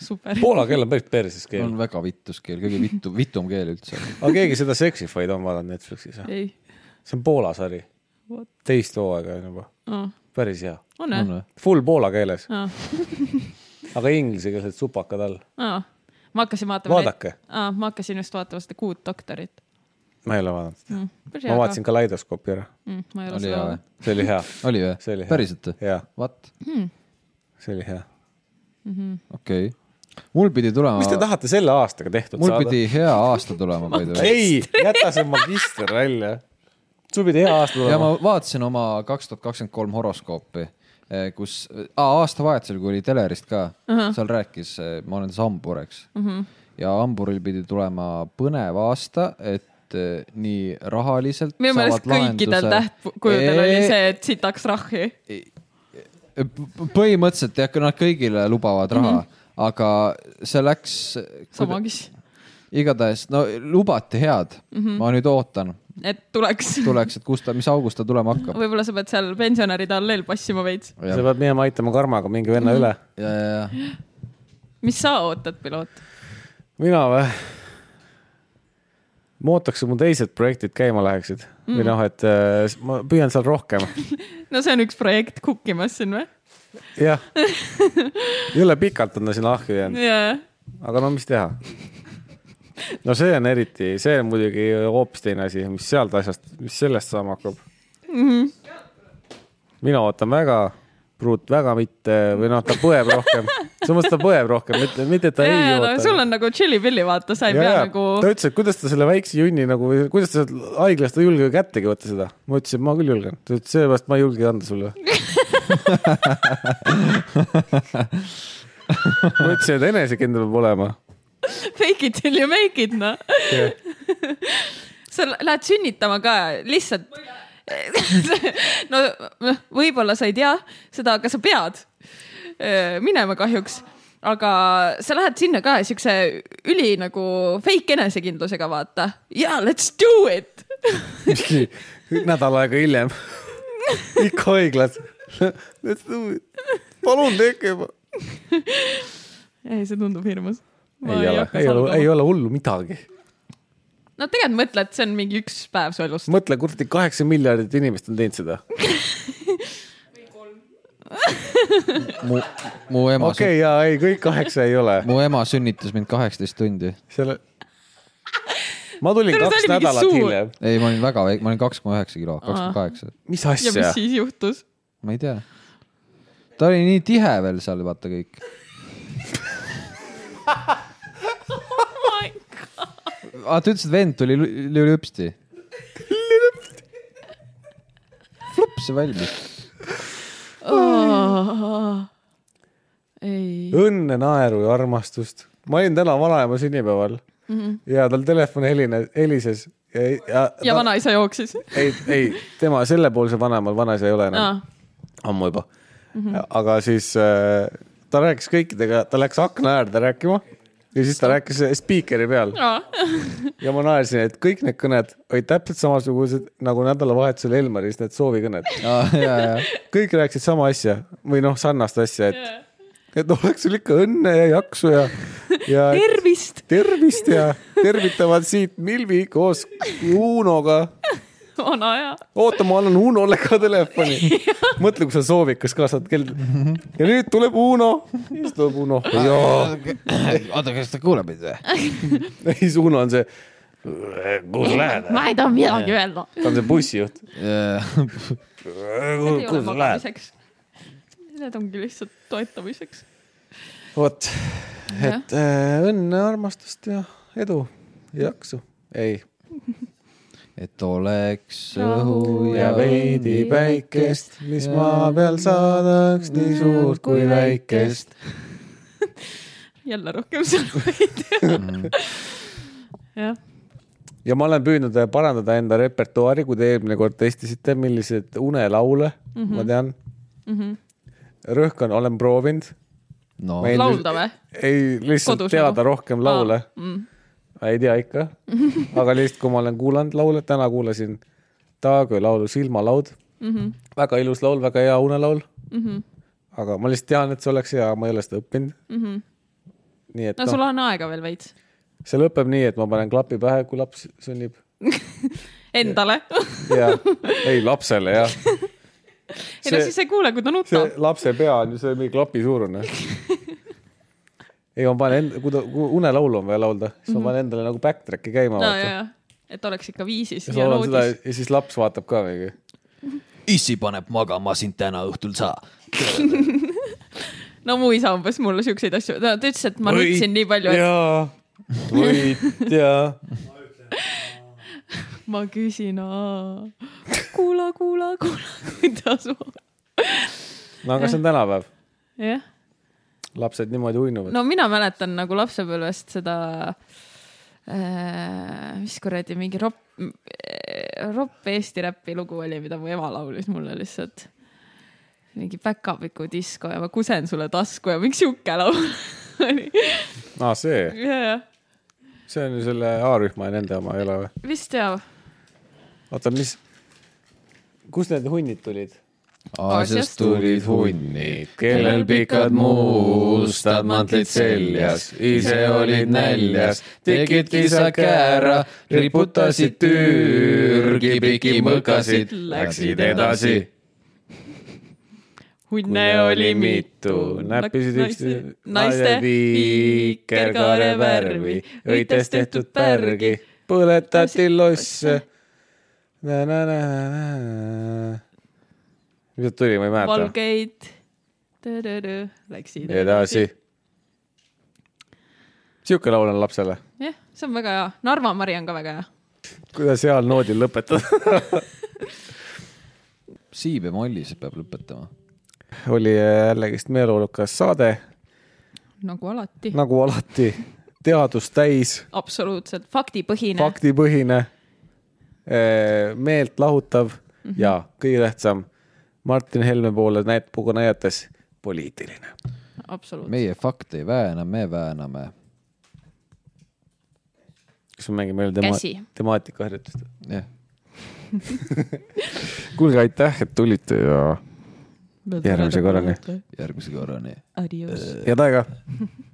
Speaker 3: super .
Speaker 2: Poola keel on päris perses keel
Speaker 1: on . väga vitus keel , kõige vitu , vitum keel üldse .
Speaker 2: aga keegi seda Sexified on vaadanud Netflixis või ?
Speaker 3: ei ,
Speaker 2: see on Poola sari ,
Speaker 3: vot ,
Speaker 2: teist hooaega on juba , päris hea .
Speaker 3: on või ?
Speaker 2: Full poola keeles ,
Speaker 3: aa ,
Speaker 2: aga inglisekeelsed supakad all .
Speaker 3: aa , ma hakkasin vaatama .
Speaker 2: vaadake ,
Speaker 3: aa , ma hakkasin just vaatama seda Good Doctorit
Speaker 2: ma ei ole vaadanud ,
Speaker 3: mm, .
Speaker 2: ma vaatasin Kaleidoskoopi ära ,
Speaker 3: mm, . ma ei ole
Speaker 1: oli
Speaker 3: seda vaadanud .,
Speaker 1: hea või
Speaker 2: see oli hea ,
Speaker 1: oli
Speaker 2: See oli
Speaker 1: või
Speaker 2: hea. ,
Speaker 1: päriselt või ?
Speaker 2: hea ,
Speaker 1: What ?
Speaker 2: see oli hea .
Speaker 1: okei okay. , mul pidi tulema ,
Speaker 2: mis te tahate selle aastaga tehtud
Speaker 1: mul
Speaker 2: saada ?
Speaker 1: pidi hea aasta tulema , by the way .
Speaker 2: ei , jäta see magister välja . sul pidi hea aasta
Speaker 1: ja
Speaker 2: tulema .
Speaker 1: ma vaatasin oma kaks tuhat kakskümmend kolm horoskoopi , kus , aastavahetusel , kui oli telerist ka uh , -huh. seal rääkis , ma olen siis hambur , eks uh . -huh. ja hamburil pidi tulema põnev aasta , et eh, nii rahaliselt . Eh,
Speaker 3: minu meelest kõikidel tähtkujudel oli see , et siit tahaks rahvi .
Speaker 1: põhimõtteliselt jah , nad kõigile lubavad raha mm , -hmm. aga see läks .
Speaker 3: sama kes ,
Speaker 1: igatahes , no lubati head mm , -hmm. ma nüüd ootan ,
Speaker 3: et tuleks .
Speaker 1: tuleks , et kust ta , mis august ta tulema hakkab .
Speaker 3: võib-olla sa pead seal pensionäride all veel passima veits .
Speaker 1: ja ,
Speaker 2: sa pead minema aitama Karmaga mingi
Speaker 1: Mhm.
Speaker 2: venna üle .
Speaker 1: ja , ja ,
Speaker 3: mis sa ootad , piloot ?
Speaker 2: mina või ? ma ootaks , et mu teised projektid käima läheksid mm. või noh , et äh, s- ma püüan seal rohkem .
Speaker 3: no see on üks projekt kukkimas siin või ?
Speaker 2: jah , jõle pikalt on ta sinna ahju jäänud ,
Speaker 3: jaa ,
Speaker 2: aga no mis teha . no see on eriti , see on muidugi hoopis teine asi , mis sealt asjast , mis sellest saama hakkab mm .
Speaker 3: Mhm.
Speaker 2: -hmm. mina ootan väga , Pruut väga mitte või noh , ta põeb rohkem , selles mõttes ta põeb rohkem , mitte , mitte et ta ei
Speaker 3: jaa , no
Speaker 2: oota .
Speaker 3: sul on nagu tšillipilli , vaata , sa ei
Speaker 2: Ja,
Speaker 3: pea
Speaker 2: ja.
Speaker 3: nagu
Speaker 2: ta ütles , et kuidas ta selle väikse junni nagu , kuidas ta sealt haiglast ei julge kättegi võtta seda . ma ütlesin , et ma küll julgen . ta ütles , seepärast ma ei julge anda sulle . ma ütlesin , et enesekindel peab olema .
Speaker 3: fake it till you make it , noh . sa lähed sünnitama ka lihtsalt . no noh, võib-olla sa ei tea seda , aga sa pead öö, minema kahjuks , aga sa lähed sinna ka siukse üli nagu fake enesekindlusega , vaata . jaa , let's do it .
Speaker 2: mingi nädal aega hiljem . ikka haiglas . palun tehke juba .
Speaker 3: ei , see tundub hirmus .
Speaker 2: ei ole , ei ole , ei ole hullu midagi .
Speaker 3: no tegelikult mõtle , et see on mingi üks päev su elust .
Speaker 2: mõtle , kuradi kaheksa miljardit inimest on teinud seda .
Speaker 1: ja mu , mu ema
Speaker 2: okei ,
Speaker 1: okay. ,
Speaker 2: ja ei , kõik kaheksa ei ole .
Speaker 1: mu ema sünnitas mind kaheksateist tundi .
Speaker 2: selle . ma tulin
Speaker 3: Tere, see
Speaker 2: kaks
Speaker 3: oli mingi
Speaker 2: nädalat
Speaker 3: suur-
Speaker 2: hiljem .
Speaker 1: ei , ma olin väga väike , ma olin kaks koma üheksa kilo , kaks koma kaheksa ,
Speaker 2: mis
Speaker 3: ja
Speaker 2: asja
Speaker 3: mis ? siis juhtus ?
Speaker 1: ma ei tea . ta oli nii tihe veel seal , vaata kõik . aa , Ah, ta ütles , et vend tuli lü- lülüpsti . flops ja valmis .
Speaker 3: ei ,
Speaker 2: õnne , naeru ja armastust . ma olin täna vanaema sünnipäeval mm -hmm. ja tal telefon helines , helises ja, ja,
Speaker 3: Mhm. ja
Speaker 2: ta-
Speaker 3: vanaisa jooksis .
Speaker 2: ei , ei tema sellepoolse vanaemal vanaisa ei ole enam
Speaker 3: aa
Speaker 2: ah. , ammu juba mm . -hmm. aga siis äh, ta rääkis kõikidega , ta läks akna äärde rääkima ja siis ta rääkis spiikeri peal
Speaker 3: aa ,
Speaker 2: ja ma naersin , et kõik need kõned olid täpselt samasugused nagu nädalavahetusel Elmaris need soovikõned .
Speaker 1: ja , ja , ja
Speaker 2: kõik rääkisid sama asja või noh , sarnast asja , et yeah. , et oleks sul ikka õnne ja jaksu ja , ja
Speaker 3: tervist .
Speaker 2: tervist ja tervitavad siit Milvi koos Unoga .
Speaker 3: vana aja .
Speaker 2: oota , ma annan Unole ka telefoni . mõtle , kui sa soovikas ka saad kell . ja nüüd tuleb Uno , siis tuleb Uno .
Speaker 1: oota , kas ta kuuleb meid või ?
Speaker 2: siis Uno on see , kuhu sa lähed ?
Speaker 3: ma ei taha midagi öelda .
Speaker 2: ta on see bussijuht .
Speaker 3: Need ei
Speaker 2: kuhu sa
Speaker 3: ole
Speaker 2: lähed ?
Speaker 3: magamiseks . Need ongi lihtsalt toetamiseks .
Speaker 2: vot , et äh, õnne , armastust ja edu ja jaksu . ei ,
Speaker 1: et oleks
Speaker 3: Rahu
Speaker 1: õhu
Speaker 2: ja
Speaker 1: ja vee .
Speaker 2: veidi päikest , mis maa peal saadaks nii suurt kui väikest .
Speaker 3: jälle rohkem sõnumeid . jah ,
Speaker 2: ja ma olen püüdnud parandada enda repertuaari , kui te eelmine kord testisite , milliseid unelaule mm
Speaker 3: Mhm.
Speaker 2: -hmm. ma tean mm . -hmm. rõhkan , olen proovinud .
Speaker 1: no
Speaker 2: ma ei-
Speaker 3: laulda või ?
Speaker 2: ei lihtsalt
Speaker 3: Kodus
Speaker 2: Kodus teada
Speaker 3: nagu? mm.
Speaker 2: rohkem laule . ma ei tea ikka , aga lihtsalt , kui ma olen kuulanud laule , täna kuulasin Taagöö laulu Silmalaud mm .
Speaker 3: Mhm.
Speaker 2: -hmm. väga ilus laul , väga hea unelaul mm . -hmm. aga ma lihtsalt tean , et see oleks hea , ma ei ole seda õppinud mm . -hmm. nii et
Speaker 3: Mhm. no
Speaker 2: noh
Speaker 3: sul , on aega veel veits .
Speaker 2: see lõpeb nii , et ma panen klapi pähe , kui laps sünnib
Speaker 3: Endale .
Speaker 2: ja ei lapsele jah
Speaker 3: ei no
Speaker 2: See-
Speaker 3: siis ei kuule , kui ta
Speaker 2: see
Speaker 3: nutab .
Speaker 2: lapse pea on ju see mingi klapi suurune . ei , ma panen enda , kui ta , kui unelaulu on vaja laulda , siis ma panen endale nagu backtrack'i käima
Speaker 3: Mhm. no ja
Speaker 2: vaata .,
Speaker 3: ja , et oleks ikka viisis
Speaker 2: ja siis
Speaker 3: ja
Speaker 2: laulan seda
Speaker 3: noodis .
Speaker 2: ja siis laps vaatab ka mingi .
Speaker 1: issi paneb magama sind täna õhtul sa .
Speaker 3: no mu isa umbes mulle siukseid asju , ta ta ütles , et ma nutsin nii palju , et
Speaker 2: jaa , võit ja .
Speaker 3: ma küsin , kuula , kuula , kuula , kuidas ma ,
Speaker 2: no aga see on tänapäev ,
Speaker 3: jah
Speaker 2: lapsed niimoodi uinuvad no. .
Speaker 3: no mina mäletan nagu lapsepõlvest seda äh, , mis kuradi mingi ropp , äh, ropp Eesti räpi lugu oli , mida mu ema laulis mulle lihtsalt . mingi päkapiku disko ja ma kusen sulle tasku ja mingi sihuke laul oli .
Speaker 2: aa , see ,
Speaker 3: ja , ja
Speaker 2: see on ju selle A-rühma ja nende oma ei ole või ?
Speaker 3: vist ja .
Speaker 2: oota , mis , kust need hunnid tulid ?
Speaker 1: Aasiast tulid hunnid , kellel pikad mustad mantlid seljas , ise olid näljas , tegid kisakäära , riputasid türgi pikimõkasid , läksid edasi .
Speaker 3: hunne oli mitu ,
Speaker 2: näppisid üksteise
Speaker 3: naiste viikerkaare värvi , õites tehtud pärgi .
Speaker 2: põletati losse . mis sealt tuli , ma ei mäleta .
Speaker 3: valgeid , tõrõrõ , läksid .
Speaker 2: edasi . sihuke laul on lapsele .
Speaker 3: jah , see on väga hea , Narva mari on ka väga hea .
Speaker 2: kuidas heal noodil lõpetada ?
Speaker 1: Si bemollis peab lõpetama .
Speaker 2: oli jällegist meeleolukas saade ,
Speaker 3: nagu alati ,
Speaker 2: nagu alati , teadust täis
Speaker 3: absoluutselt faktipõhine .
Speaker 2: faktipõhine , meelt lahutav mm -hmm. ja kõige tähtsam Martin Helme poole näpuga näidates poliitiline .
Speaker 3: absoluutselt .
Speaker 1: meie fakte ei vääna , me vääname .
Speaker 2: kas me mängime veel tema
Speaker 3: Käsi.
Speaker 2: temaatikaharjutust ?
Speaker 1: jah ,
Speaker 2: kuulge , aitäh , et tulite ja järgmise korrani. .
Speaker 1: järgmise korrani
Speaker 3: Adios .
Speaker 2: head aega .